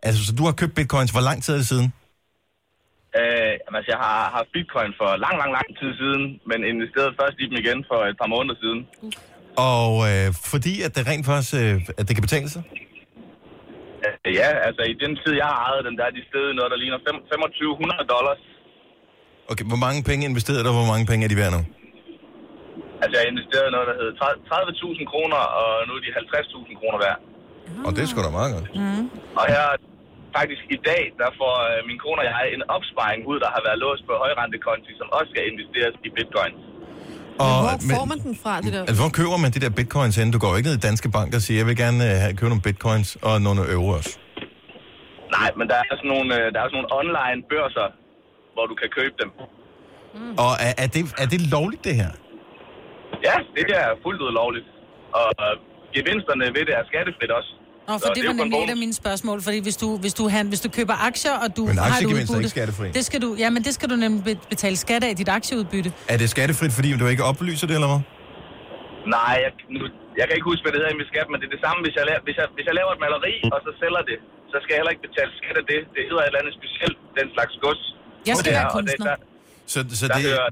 S1: altså, så du har købt bitcoins. Hvor lang tid er det siden?
S14: Øh, jamen, altså, jeg har haft bitcoin for lang, lang, lang tid siden, men investeret først i dem igen for et par måneder siden.
S1: Og øh, fordi at det rent faktisk, øh, at det kan betale sig?
S14: Øh, ja, altså i den tid, jeg har ejet dem, der er de stedet noget, der ligner fem- 2500 dollars.
S1: Okay, hvor mange penge investerede du, og hvor mange penge er de værd nu?
S14: Altså, jeg investerede noget, der hed 30.000 kroner, og nu er de 50.000 kroner værd.
S1: Og det er sgu da meget godt.
S14: Mm. Og her, faktisk i dag, der får øh, min kone og jeg en opsparing ud, der har været låst på højrentekonti, som også skal investeres i bitcoin.
S1: Og,
S3: Hvor får man den fra, det der?
S1: Altså, hvor køber man de der bitcoins hen? Du går jo ikke ned i Danske Bank og siger, jeg vil gerne øh, have- købe nogle bitcoins og nogle euro også.
S14: Nej, men der er sådan nogle, øh, der er sådan nogle online børser, hvor du kan købe dem.
S1: Mm. Og er, er, det, er det lovligt, det her?
S14: Ja, det er fuldt ud lovligt. Og øh, gevinsterne ved det er skattefrit også.
S2: Nå,
S14: Så
S2: for det
S14: er
S2: var
S14: jo kun
S2: nemlig et af
S14: bonus.
S2: mine spørgsmål, fordi hvis du, hvis du, han, hvis du køber aktier, og du
S1: Men
S2: har et
S1: aktiegevinst er
S2: udbytte,
S1: ikke skattefri.
S2: Det skal du, ja, men det skal du nemlig be- betale skat af, dit aktieudbytte.
S1: Er det skattefrit, fordi du ikke oplyser det, eller hvad?
S14: Nej, jeg, nu, jeg kan ikke huske, hvad det hedder i min skat, men det er det samme, hvis jeg, laver, hvis, jeg, hvis jeg laver et maleri,
S1: Mm.
S14: og så sælger det, så skal jeg heller ikke betale skat af det. Det hedder et eller andet specielt, den slags gods.
S1: Jeg skal
S14: Og det
S1: være
S14: er- og det-
S1: kunstner.
S14: der-
S1: Så, så
S14: Der
S1: det,
S14: hører,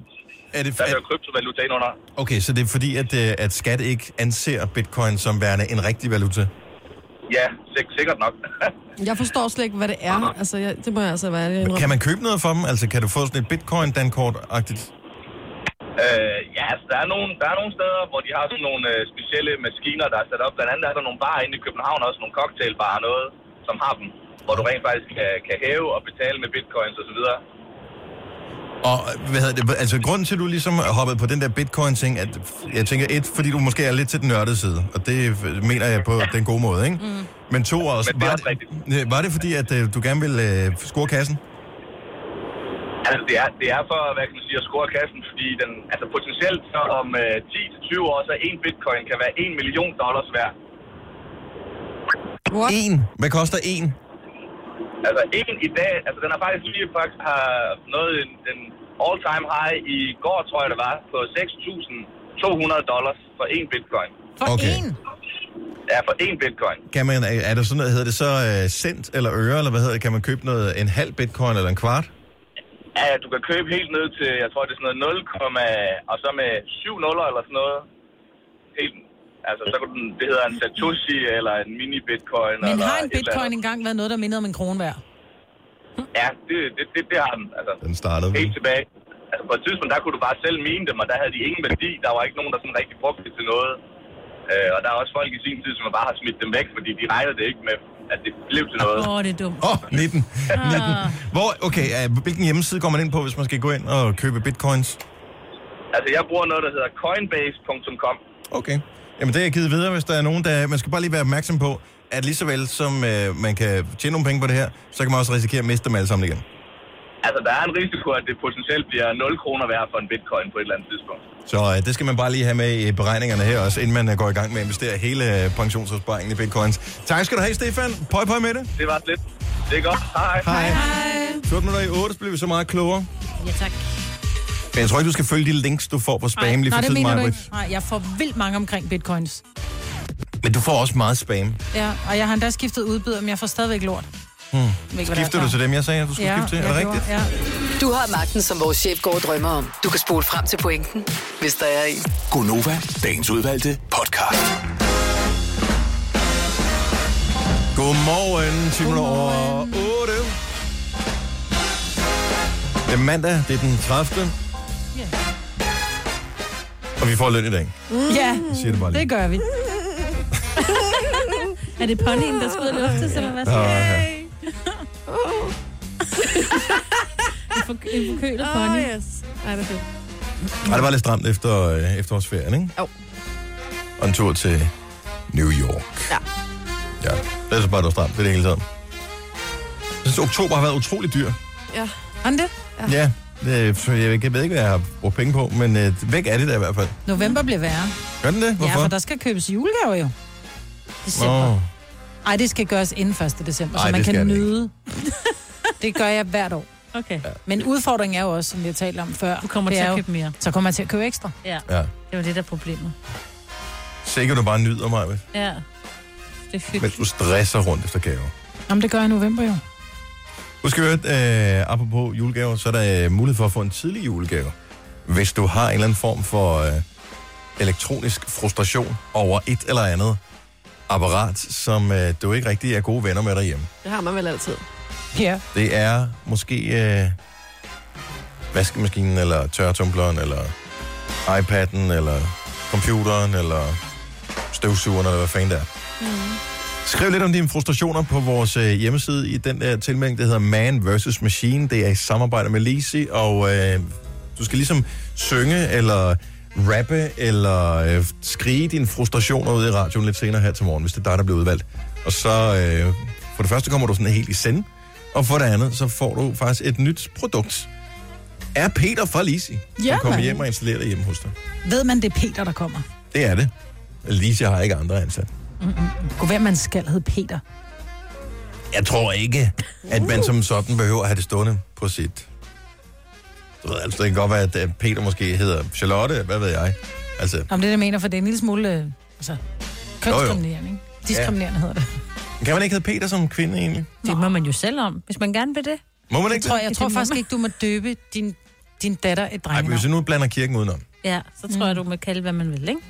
S1: er det,
S14: der hører kryptovaluta ind under.
S1: okay, så det er fordi, at, øh, at skat ikke anser bitcoin som værende en rigtig valuta?
S3: Mm.
S14: Ja, sik- sikkert nok.
S3: Jeg forstår slet ikke, hvad det
S1: Ah.
S3: er. Altså, jeg, det må jeg altså være ærlig at indrømme.
S1: Kan man købe noget for dem? Altså, kan du få sådan et bitcoin-dankort-agtigt?
S14: øh, ja, altså, der er, nogle, der er nogle steder, hvor de har sådan nogle øh, specielle maskiner, der er sat op. Blandt andet er der nogle barer inde i København, også nogle cocktailbarer og noget, som har dem. Hvor du rent faktisk kan, kan hæve og betale med bitcoins osv.
S1: Og hvad hedder det, altså grunden til, at du ligesom hoppede på den der bitcoin-ting, at jeg tænker, et, fordi du måske er lidt til den nørdede side, og det øh, mener jeg på den gode måde, ikke? Mm. Men to også,
S14: Men det er
S1: var,
S14: også
S1: det, var det fordi, at øh, du gerne ville øh, score kassen?
S14: Altså, det er, det er for, hvad kan man sige, at score kassen, fordi den, altså potentielt så om øh, 10-20 år, så en bitcoin kan være 1 million dollars værd.
S1: What? En. Hvad koster en?
S14: Altså, en i dag, altså den har faktisk lige faktisk har nået en, en all-time high i går, tror jeg det var, på 6.200 dollars for en bitcoin.
S1: For okay.
S2: en?
S14: Ja, for én bitcoin.
S1: Kan man, er der sådan noget, hedder det så uh, cent eller øre, eller hvad hedder det? Kan man købe noget, en halv bitcoin eller en kvart?
S14: Ja, du kan købe helt ned til, jeg tror, det er sådan noget 0, og så med 7 nuller eller sådan noget. Helt, altså, så kunne den, det hedder en Satoshi eller en mini-bitcoin.
S2: Men
S14: eller
S2: har en
S14: et eller
S2: bitcoin
S14: andet.
S2: engang været noget, der mindede om en krone værd?
S14: Ja, det, det, det, det har den. Altså,
S1: den startede.
S14: Helt tilbage. Altså, på et tidspunkt, der kunne du bare selv mene dem, og der havde de ingen værdi. Der var ikke nogen, der sådan rigtig brugte det til noget. Øh, og der er også folk i sin tid, som bare har smidt dem væk, fordi de regnede det ikke med, at det blev til noget.
S4: Åh, det er dumt.
S1: Åh, oh, 19. 19. Hvor, okay, uh, hvilken hjemmeside går man ind på, hvis man skal gå ind og købe bitcoins?
S14: Altså, jeg bruger noget, der hedder coinbase.com.
S1: Okay. Jamen, det er jeg givet videre, hvis der er nogen, der... Man skal bare lige være opmærksom på, at lige så vel som øh, man kan tjene nogle penge på det her, så kan man også risikere at miste dem alle sammen igen.
S14: Altså, der er en risiko, at det potentielt bliver 0 kroner værd for en bitcoin på et eller andet tidspunkt.
S1: Så øh, det skal man bare lige have med i beregningerne her også, inden man øh, går i gang med at investere hele øh, pensionsopsparingen i bitcoins. Tak skal du have, Stefan. Pøj, pøj med det.
S14: Det var lidt. Det er godt. Hej.
S1: Hej. 14 minutter i 8, så bliver vi så meget klogere.
S4: Ja, tak.
S1: Men jeg tror ikke, du skal følge de links, du får på spam lige
S2: Nej,
S1: for
S2: det
S1: tiden,
S2: mener du
S1: Maja.
S2: ikke. Nej, jeg får vildt mange omkring bitcoins.
S1: Men du får også meget spam.
S2: Ja, og jeg har endda skiftet udbyder, men jeg får stadigvæk lort.
S1: Hmm.
S2: hvad det er
S1: Skifter
S2: for.
S1: du til dem, jeg sagde, at du skulle skifte til? Er det
S2: jeg
S1: rigtigt?
S2: gjorde, ja.
S6: Du har magten, som vores chef går og drømmer om. Du kan spole frem til pointen, hvis der er en.
S5: Gonova, dagens udvalgte podcast.
S1: Godmorgen, 10 minutter over 8. Det er mandag, det er den 30.
S2: Ja.
S1: Og vi får løn i dag.
S4: Ja,
S1: Jeg siger det bare lige.
S2: det gør vi.
S4: er det ponyen, der skal ud og luftes, eller hvad
S1: Nå,
S4: sker der?
S1: ja.
S4: En for- En forkølet pony.
S3: Åh, yes. Ej, det er fedt.
S1: Ej, det var lidt stramt efter øh, efterårsferien, ikke?
S3: Jo.
S1: Og en tur til New York.
S3: Ja.
S1: Ja, det er så bare, det var stramt. Det er det hele taget. Jeg synes, oktober har været utrolig dyr.
S3: Ja.
S2: Har den det?
S1: Ja. Det, for jeg, jeg ved ikke, hvad jeg har brugt penge på, men øh, væk er det der i hvert fald.
S2: November bliver værre.
S1: Gør den det? Hvorfor?
S2: Ja, for der skal købes julegaver jo. December.
S1: Nå.
S2: Ej, det skal gøres inden 1. december,
S1: Ej,
S2: så man
S1: det skal
S2: kan
S1: det
S2: nyde. det gør jeg hvert år.
S4: Okay. Ja.
S2: Men udfordringen er jo også, som vi har talt om før. Du
S4: kommer til at købe mere.
S2: Så kommer man til at købe ekstra.
S4: Ja.
S1: Ja.
S4: Det var det, der er problemet.
S1: Sikkert, du bare nyder mig, vel?
S4: Ja. Det er
S1: mens du stresser rundt efter gaver.
S2: Jamen, det gør jeg i november jo.
S1: Nu skal vi høre, øh, apropos julegaver, så er der øh, mulighed for at få en tidlig julegave. Hvis du har en eller anden form for øh, elektronisk frustration over et eller andet apparat, som øh, du ikke rigtig er gode venner med derhjemme.
S3: Det har man vel altid.
S2: Ja.
S1: Det er måske øh, vaskemaskinen, eller tørretumbleren, eller iPad'en, eller computeren, eller støvsugeren, eller hvad fanden det er.
S13: Mm.
S1: Skriv lidt om dine frustrationer på vores øh, hjemmeside i den der tilmelding, der hedder Man vs. Machine. Det er i samarbejde med Lisi, og øh, du skal ligesom synge eller rappe eller øh, skrige dine frustrationer ud i radioen lidt senere her til morgen, hvis det er dig, der bliver udvalgt. Og så øh, for det første kommer du sådan helt i send, og for det andet, så får du faktisk et nyt produkt. Er Peter fra Lisi,
S2: Ja,
S1: som kommer
S2: mand.
S1: hjem og installerer det hjemme hos dig.
S2: Ved man, det er Peter, der kommer?
S1: Det er det. Lisi har ikke andre ansat.
S2: Kunne være, man skal hedde Peter.
S1: Jeg tror ikke, at man som sådan behøver at have det stående på sit... Du ved, altså, det kan godt være, at øh, Peter måske hedder Charlotte, hvad ved jeg. Altså,
S2: Om det, der mener, for det er en lille smule øh, altså, kønsdiskriminerende, ikke? Diskriminerende hedder det.
S1: kan man ikke hedde Peter som kvinde egentlig?
S4: Det må man jo selv om, hvis man gerne vil det.
S1: Må man
S2: Jeg
S1: ikke
S2: tror,
S1: det?
S2: jeg tror faktisk ikke, du må døbe din, din datter et
S1: Ej,
S2: dreng.
S1: men hvis vi nu blander kirken udenom.
S4: Ja, Mm. så tror jeg, du må kalde, hvad man vil, ikke?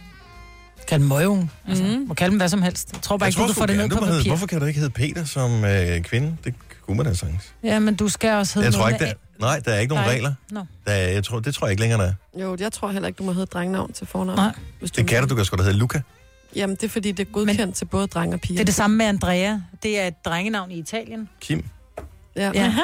S2: Kald dem møgung. Altså,
S4: Mhm.
S2: mm. Må kalde dem hvad som helst. Jeg tror bare
S1: Jeg
S2: ikke,
S1: tror
S2: du kan
S1: sgu
S2: få det
S1: gerne,
S2: ned
S1: du
S2: på
S1: må hedde-
S2: papir.
S1: Hvorfor kan du ikke hedde Peter som øh, kvinde? Det kunne man da sagtens.
S2: Ja, men du skal også hedde
S1: Jeg tror
S2: noget
S1: ikke,
S2: med
S1: der, nej, der er ikke nogen
S3: Nej.
S1: regler.
S2: Nå.
S1: Der er, jeg tror, det tror jeg ikke længere, der er.
S3: Jo, jeg tror heller ikke, du må hedde drengnavn til fornavn.
S2: Nej.
S1: Det kan du, du kan sgu da hedde Luca.
S3: Jamen, det er fordi, det er godkendt Men... til både dreng og piger.
S2: Det er det samme med Andrea. Det er et drengenavn i Italien.
S1: Kim.
S3: Ja.
S2: Ja.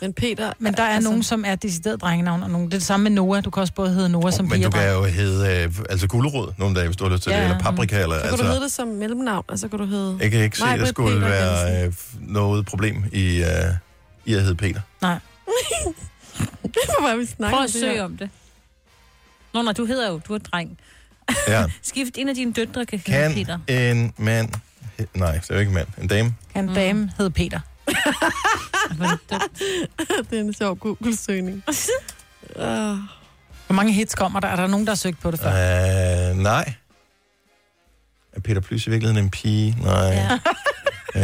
S3: Men Peter...
S2: Men der er altså... nogen, som er decideret drengenavn, og nogen. det er det samme med Noah. Du kan også både hedde Noah oh, som
S1: Men
S2: piger.
S1: du kan jo hedde øh, altså gulerod nogle dage, hvis du har lyst til
S2: Ja,
S1: det. Eller
S2: ja.
S1: paprika. Eller,
S3: Så kunne
S1: altså,
S3: altså... du hedde det som mellemnavn, og så kunne du hedde...
S1: Jeg kan ikke se, at der
S3: Maj-Britt
S1: skulle
S3: Peter
S1: være øh, noget problem i, øh, i at hedde Peter.
S2: Nej.
S3: Hvorfor har vi snakket
S4: Prøv
S3: om
S4: at
S3: det
S4: søge
S3: her?
S4: om det. Nå, nej, du hedder jo, du er dreng.
S1: Ja.
S4: Skift en af dine døtre, kan
S1: Kan
S4: hedde Peter.
S1: en mand... he- Nej, det er jo ikke en mand. En dame.
S2: Kan en dame mm. hedde Peter?
S3: det er en sjov Google-søgning.
S2: Uh. Hvor mange hits kommer der? Er der nogen, der har søgt på det før?
S1: Uh, nej. Øh, Er Peter Plys i virkeligheden en pige? Nej. Ja. Øh,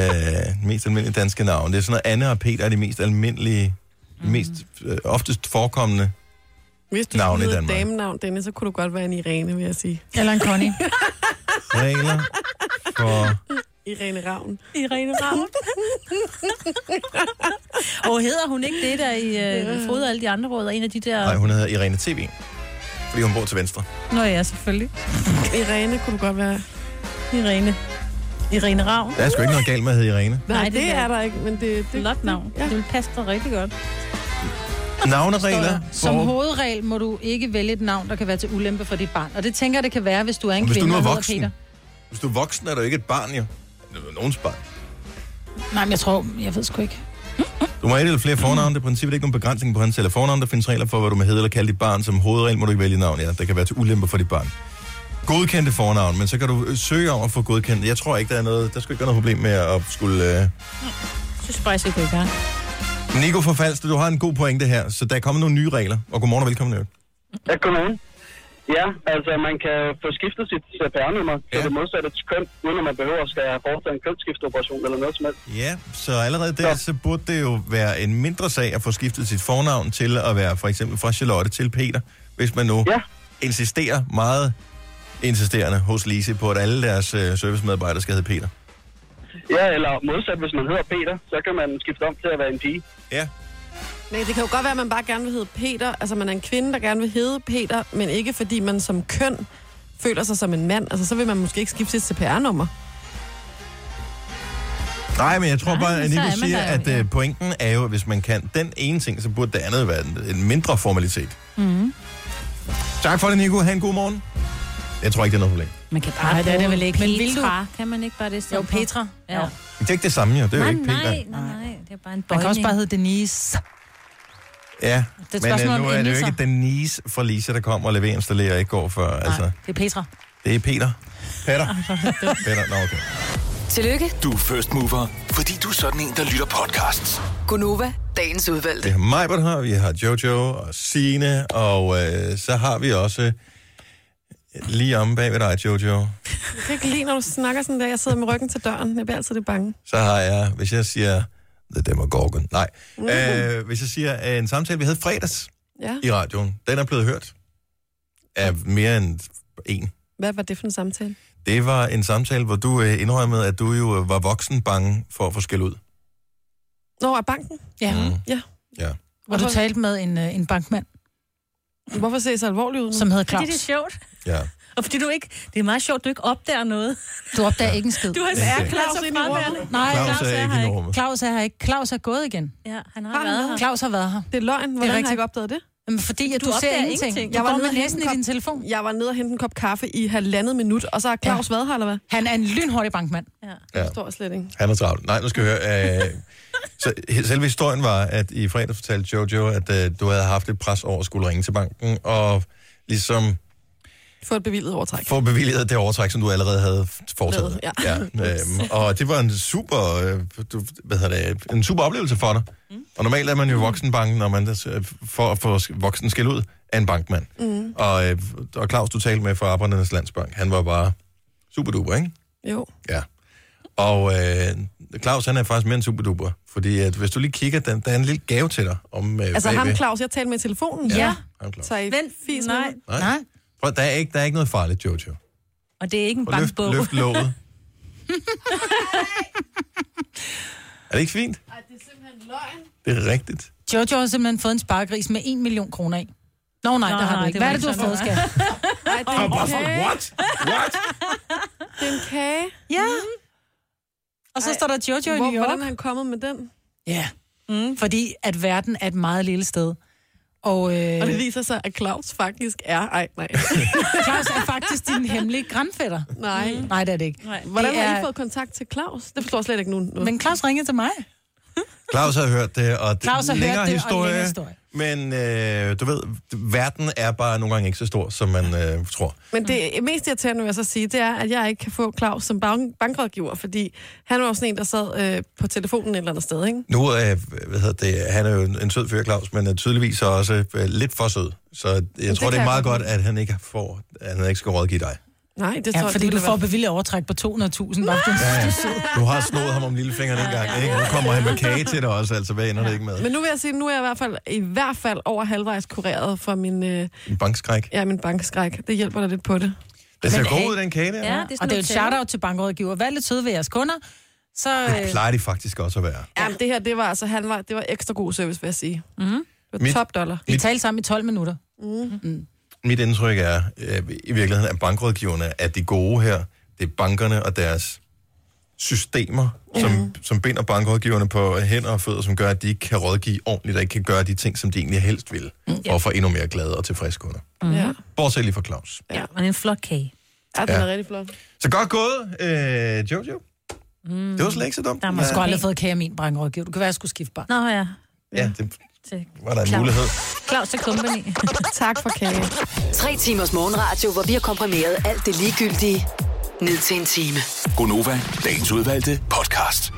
S1: mest almindelige danske navn. Det er sådan noget, Anne og Peter er de mest almindelige, mm. mest øh, oftest forekommende
S3: Hvis du
S1: Navne i
S3: skulle hedde
S1: Danmark.
S3: damenavn, Dennis, så kunne du godt være en Irene, vil jeg sige.
S2: Eller en Connie.
S1: regler for...
S3: Irene Ravn.
S4: Irene Ravn. og hedder hun ikke det, der i øh, fodrer alle de andre råd, og en af de der...
S1: Nej, hun hedder Irene TV. Fordi hun bor til venstre.
S4: Nå ja, selvfølgelig.
S3: Irene kunne du godt være.
S4: Irene. Irene Ravn.
S1: Der er sgu ikke noget galt med at hedde Irene.
S3: Nej, Nej det, det er der ikke, men det...
S4: det Lot navn. Ja. Det vil passe dig rigtig godt.
S1: Navneregler
S2: Som hovedregel må du ikke vælge et navn, der kan være til ulempe for dit barn. Og det tænker jeg, det kan være, hvis du er en
S1: Og hvis du
S2: kvinde,
S1: nu er
S2: der hedder
S1: voksen.
S2: Peter.
S1: Hvis du er voksen, er du ikke et barn, jo. Det er Nogens barn.
S2: Nej, men jeg tror, jeg ved sgu ikke.
S1: Du må have et eller flere fornavne. Det er i princippet ikke nogen begrænsning på hans eller fornavn. Der findes regler for, hvad du må hedde eller kalde dit barn. Som hovedregel må du ikke vælge navn, ja. Der kan være til ulemper for dit barn. Godkendte fornavn, men så kan du øh, søge om at få godkendt. Jeg tror ikke, der er noget... Der skal ikke være noget problem med at skulle... Øh,
S4: Jeg synes bare, jeg skal gå i gang.
S1: Nico for Falster, du har en god pointe her, så der er kommet nogle nye regler. Og godmorgen og velkommen, Jørgen.
S15: Ja, godmorgen. Ja, altså man kan få skiftet sit CPR-nummer ja. til det modsatte køn, uden at man behøver at skal have foretaget en kønsskifteoperation eller noget som helst.
S1: Ja, så allerede der, så burde det jo være en mindre sag at få skiftet sit fornavn til at være for eksempel fra Charlotte til Peter, hvis man nu ja. insisterer meget insisterende hos Lise på, at alle deres øh, servicemedarbejdere skal hedde Peter.
S15: Ja, eller modsat, hvis man hedder Peter, så kan man skifte om til at være en pige.
S1: Ja.
S3: Nej, det kan jo godt være, at man bare gerne vil hedde Peter. Altså, man er en kvinde, der gerne vil hedde Peter, men ikke fordi man som køn føler sig som en mand. Altså, så vil man måske ikke skifte sit CPR-nummer.
S1: Nej, men jeg tror
S3: Nej,
S1: bare,
S3: men
S1: at
S3: så
S1: Nico
S3: er man
S1: siger,
S3: der jo,
S1: at øh, pointen er jo, at hvis man kan den ene ting, så burde det andet være en- en mindre formalitet.
S3: Mhm.
S4: Mm.
S1: Tak for det, Nico. Ha' en god morgen. Jeg tror ikke, det er noget problem.
S4: Man kan
S2: bare Nej, det er det vel ikke. Men vil du...
S4: Petra, kan man ikke bare det i stedet
S2: Jo, Petra.
S4: Ja. ja.
S1: Det er ikke det samme, jo. Det er jo
S4: nej,
S1: ikke Peter.
S4: nej, nej, nej. Det er bare en bøjning.
S2: Man kan også bare hedde Denise.
S1: Ja,
S2: er et
S1: men
S2: spørgsmål
S1: øh,
S2: om
S1: nu er det jo
S2: endelser.
S1: ikke Denise fra Lisa, der kommer og leverer installerer ikke går før. Altså,
S2: Det er Petra.
S1: det er Peter. Peter. Peter, nå okay.
S6: Tillykke,
S5: Du er first mover, fordi du er sådan en, der lytter podcasts.
S6: Gunova, dagens udvalgte.
S1: Det er Majbert her, vi har Jojo og Sine og øh, så har vi også øh, lige om bag ved dig, Jojo.
S3: Jeg kan ikke lide, når du snakker sådan der. Jeg sidder med ryggen til døren. Jeg bliver altid lidt bange.
S1: Så har jeg, hvis jeg siger The Demogorgon, nej.
S2: Mm.
S1: Øh, hvis jeg siger øh, en samtale, vi havde fredags
S3: Mm. Ja.
S1: i radioen, den er blevet hørt af mere end en.
S3: Hvad var det for en samtale?
S1: Det var en samtale, hvor du øh, indrømmede, at du jo øh, var voksen bange for at få skæld ud.
S3: Nå, af banken?
S2: Ja.
S1: Mm.
S3: ja.
S1: Ja.
S2: Hvor du talte med en, øh, en bankmand.
S3: Hvorfor ser så alvorligt ud nu?
S2: Som hedder Claus.
S4: Fordi det er sjovt.
S1: Ja.
S4: Og fordi du ikke... Det er meget sjovt, at du ikke opdager noget.
S2: Du opdager ikke en skid.
S4: Du har
S2: Ikke
S4: er
S2: det.
S4: Claus
S2: Claus ind i
S4: fraværende.
S2: Nej,
S1: Claus er ikke i rummet.
S2: Claus er her ikke. Claus er gået igen.
S4: Ja, han har,
S3: Har han
S4: været
S3: været
S4: her.
S2: Claus har været her.
S3: Det er løgn. Hvordan har jeg ikke opdaget det?
S2: Jamen, fordi at
S4: Du
S2: du, du
S4: opdager
S2: ser ingenting.
S4: ingenting.
S2: Du
S3: Jeg
S2: jeg
S3: var
S2: går
S3: nede
S2: med
S3: og hente
S2: næsen
S3: en
S2: i
S3: kop-
S2: din telefon.
S3: Jeg var nede og hente en kop kaffe i halvandet minut, og så har Claus ja. været her, eller hvad?
S2: Han er en lynhurtig bankmand.
S4: Ja.
S1: Ja.
S3: Jeg forstår slet ikke.
S1: Han er travlt. Nej, nu skal jeg høre. Øh, så he- selve historien var, at i fredag fortalte Jojo, at øh, du havde haft et pres over at skulle ringe til banken, og ligesom
S3: Få et bevillet overtræk.
S1: få bevilget det overtræk, som du allerede havde foretaget.
S3: Lavet,
S1: ja. øhm, og det var en super, øh, du, hvad hedder det, en super oplevelse for dig. Mm. Og normalt er man jo voksenbanken, når man øh, for at få voksen skæld ud af en bankmand. Mm. Og, øh, og Claus, du talte med fra Arbejdernes Landsbank, han var bare super duper, ikke?
S3: Jo.
S1: Ja. Og øh, Claus, han er faktisk mere end superduper. Fordi at, hvis du lige kigger, der, der er en lille gave til dig. Om, øh,
S3: Altså ham
S1: bagved.
S3: Claus, jeg talte med i telefonen.
S1: Ja. Ja. Ham, Claus.
S3: Så I Vent, fis med mig.
S1: Nej. Nej. Prøv, der, er ikke, der er ikke noget farligt, Jojo.
S4: Og det er ikke en
S1: Prøv, løft,
S4: bankbog.
S1: løft låget. er det ikke fint? Det er rigtigt.
S2: Jojo har simpelthen fået en sparkris med 1 million kroner i. Nå nej,
S4: Nå,
S2: Nå, det har
S4: nej,
S2: du ikke.
S4: det
S2: Hvad
S4: var
S2: er det, du har
S4: ikke
S2: fået,
S4: sådan,
S2: skat?
S3: Ej, det er en kage. Det er en kage.
S2: Ja. Mm-hmm. Og så står der Jojo i
S3: Hvor-
S2: New York.
S3: Hvordan er han kommet med den?
S2: Ja, mm. fordi at verden er et meget lille sted. Og, øh,
S3: Og det viser sig, at Claus faktisk er... Ej, nej.
S2: Claus er faktisk din hemmelige grandfætter.
S3: Nej.
S2: Mm. Nej, det er det ikke.
S3: Nej. Hvordan
S2: det er...
S3: har I fået kontakt til Claus? Det forstår jeg slet ikke nu.
S2: Men Claus ringede til mig.
S1: Claus har hørt det, og det
S2: Claus har hørt
S1: længere
S2: det, og
S1: historie,
S2: længere historie.
S1: Men øh, du ved, verden er bare nogle gange ikke så stor, som man øh, tror.
S3: Men det mest irriterende, vil jeg så sige, det er, at jeg ikke kan få Claus som bank- bankrådgiver, fordi han var jo sådan en, der sad øh, på telefonen et eller andet sted, ikke?
S1: Nu er, hvad hedder det, han er jo en, en sød fyr, Claus, men er tydeligvis så også øh, lidt for sød. Så jeg
S3: det
S1: tror, det,
S3: kan
S1: er
S3: jeg
S1: meget
S3: godt
S1: godt, at han ikke får, at han ikke skal rådgive dig.
S3: Nej, det
S2: Ja,
S3: tror jeg,
S2: fordi
S3: det
S2: du
S3: ville
S2: får
S3: være-
S2: bevilget overtræk på 200.000. Bare for
S1: Ja, ja.
S2: at du
S1: Du har snået ham om lillefingeren en gang, ikke? Nu kommer han med kage til dig også, altså. Hvad ender det ikke med?
S3: Men nu vil jeg sige, nu er jeg i hvert fald, i hvert fald over halvvejs kureret for min, øh,
S1: En bankskræk.
S3: ja, min bankskræk. Det hjælper da lidt på det.
S1: Den ser
S2: Men,
S1: god
S2: hey.
S1: ud, den kage der.
S2: Ja, det er og det er jo et shout-out til bankrådgiver. Vær lidt søde ved jeres kunder. Så, øh,
S1: Det plejer de faktisk også at være.
S3: Ja, men det her, det var altså, han var, det var ekstra god service, vil jeg sige.
S2: Mm.
S3: Det var
S1: Mit-
S3: top dollar.
S1: Vi mit-
S2: talte sammen i 12 minutter.
S3: Mm. Mm.
S1: Mit indtryk er øh, i virkeligheden, at bankrådgiverne er de gode her. Det er bankerne og deres systemer, som, som binder bankrådgiverne på hænder og fødder, som gør, at de ikke kan rådgive ordentligt, og ikke kan gøre de ting, som de egentlig helst vil, mm,
S4: ja.
S1: og få endnu mere glade og tilfredse kunder.
S4: Mm. Ja.
S1: Bortset lige fra Claus.
S4: ja, og det er en flot kage.
S3: Ja,
S1: den er Ja.
S3: rigtig flot.
S1: Så godt gået, øh, Jojo. Mm. Det var slet ikke så dumt.
S2: Der har sgu aldrig fået kage af min bankrådgiver. Du kan være, at jeg skulle skifte bank.
S4: Nå ja,
S1: Ja, det
S4: til
S1: var der en
S4: Claus.
S1: mulighed.
S4: Claus til Company.
S3: tak for kage.
S6: Tre timers morgenradio, hvor vi har komprimeret alt det ligegyldige ned til en time.
S5: Gonova, dagens udvalgte podcast.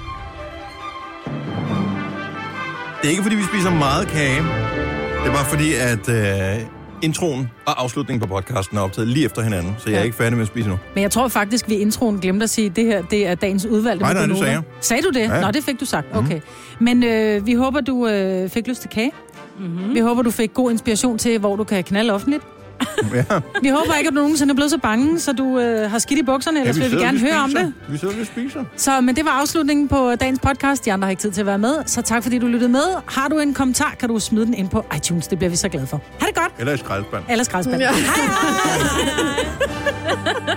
S1: Det er ikke, fordi vi spiser meget kage. Det er bare fordi, at øh, introen og afslutningen på podcasten er optaget lige efter hinanden, så jeg er ikke færdig med at spise nu.
S2: Men jeg tror faktisk, vi i introen glemte at sige, at det her det er dagens udvalgte.
S1: Nej, nej, det
S2: Gonova.
S1: sagde jeg.
S2: Sagde du det?
S1: Ja, Mhm. ja.
S2: Ja. Nå, det fik du sagt. Okay. Men øh, vi håber, du øh, fik lyst til kage. Mm-hmm. Vi håber, du fik god inspiration til, hvor du kan knalde offentligt.
S1: Ja.
S2: Vi håber ikke, at du nogensinde er blevet så bange, så du øh, har skidt i bukserne, ellers vil vi gerne høre om det.
S1: Vi sidder og spiser.
S2: Så, men det var afslutningen på dagens podcast. De andre har ikke tid til at være med, så tak fordi du lyttede med. Har du en kommentar, kan du smide den ind på iTunes. Det bliver vi så glade for. Ha' det godt.
S1: Eller i skraldespand.
S2: Ellers græsband.
S10: Ja.
S2: Hej, hej.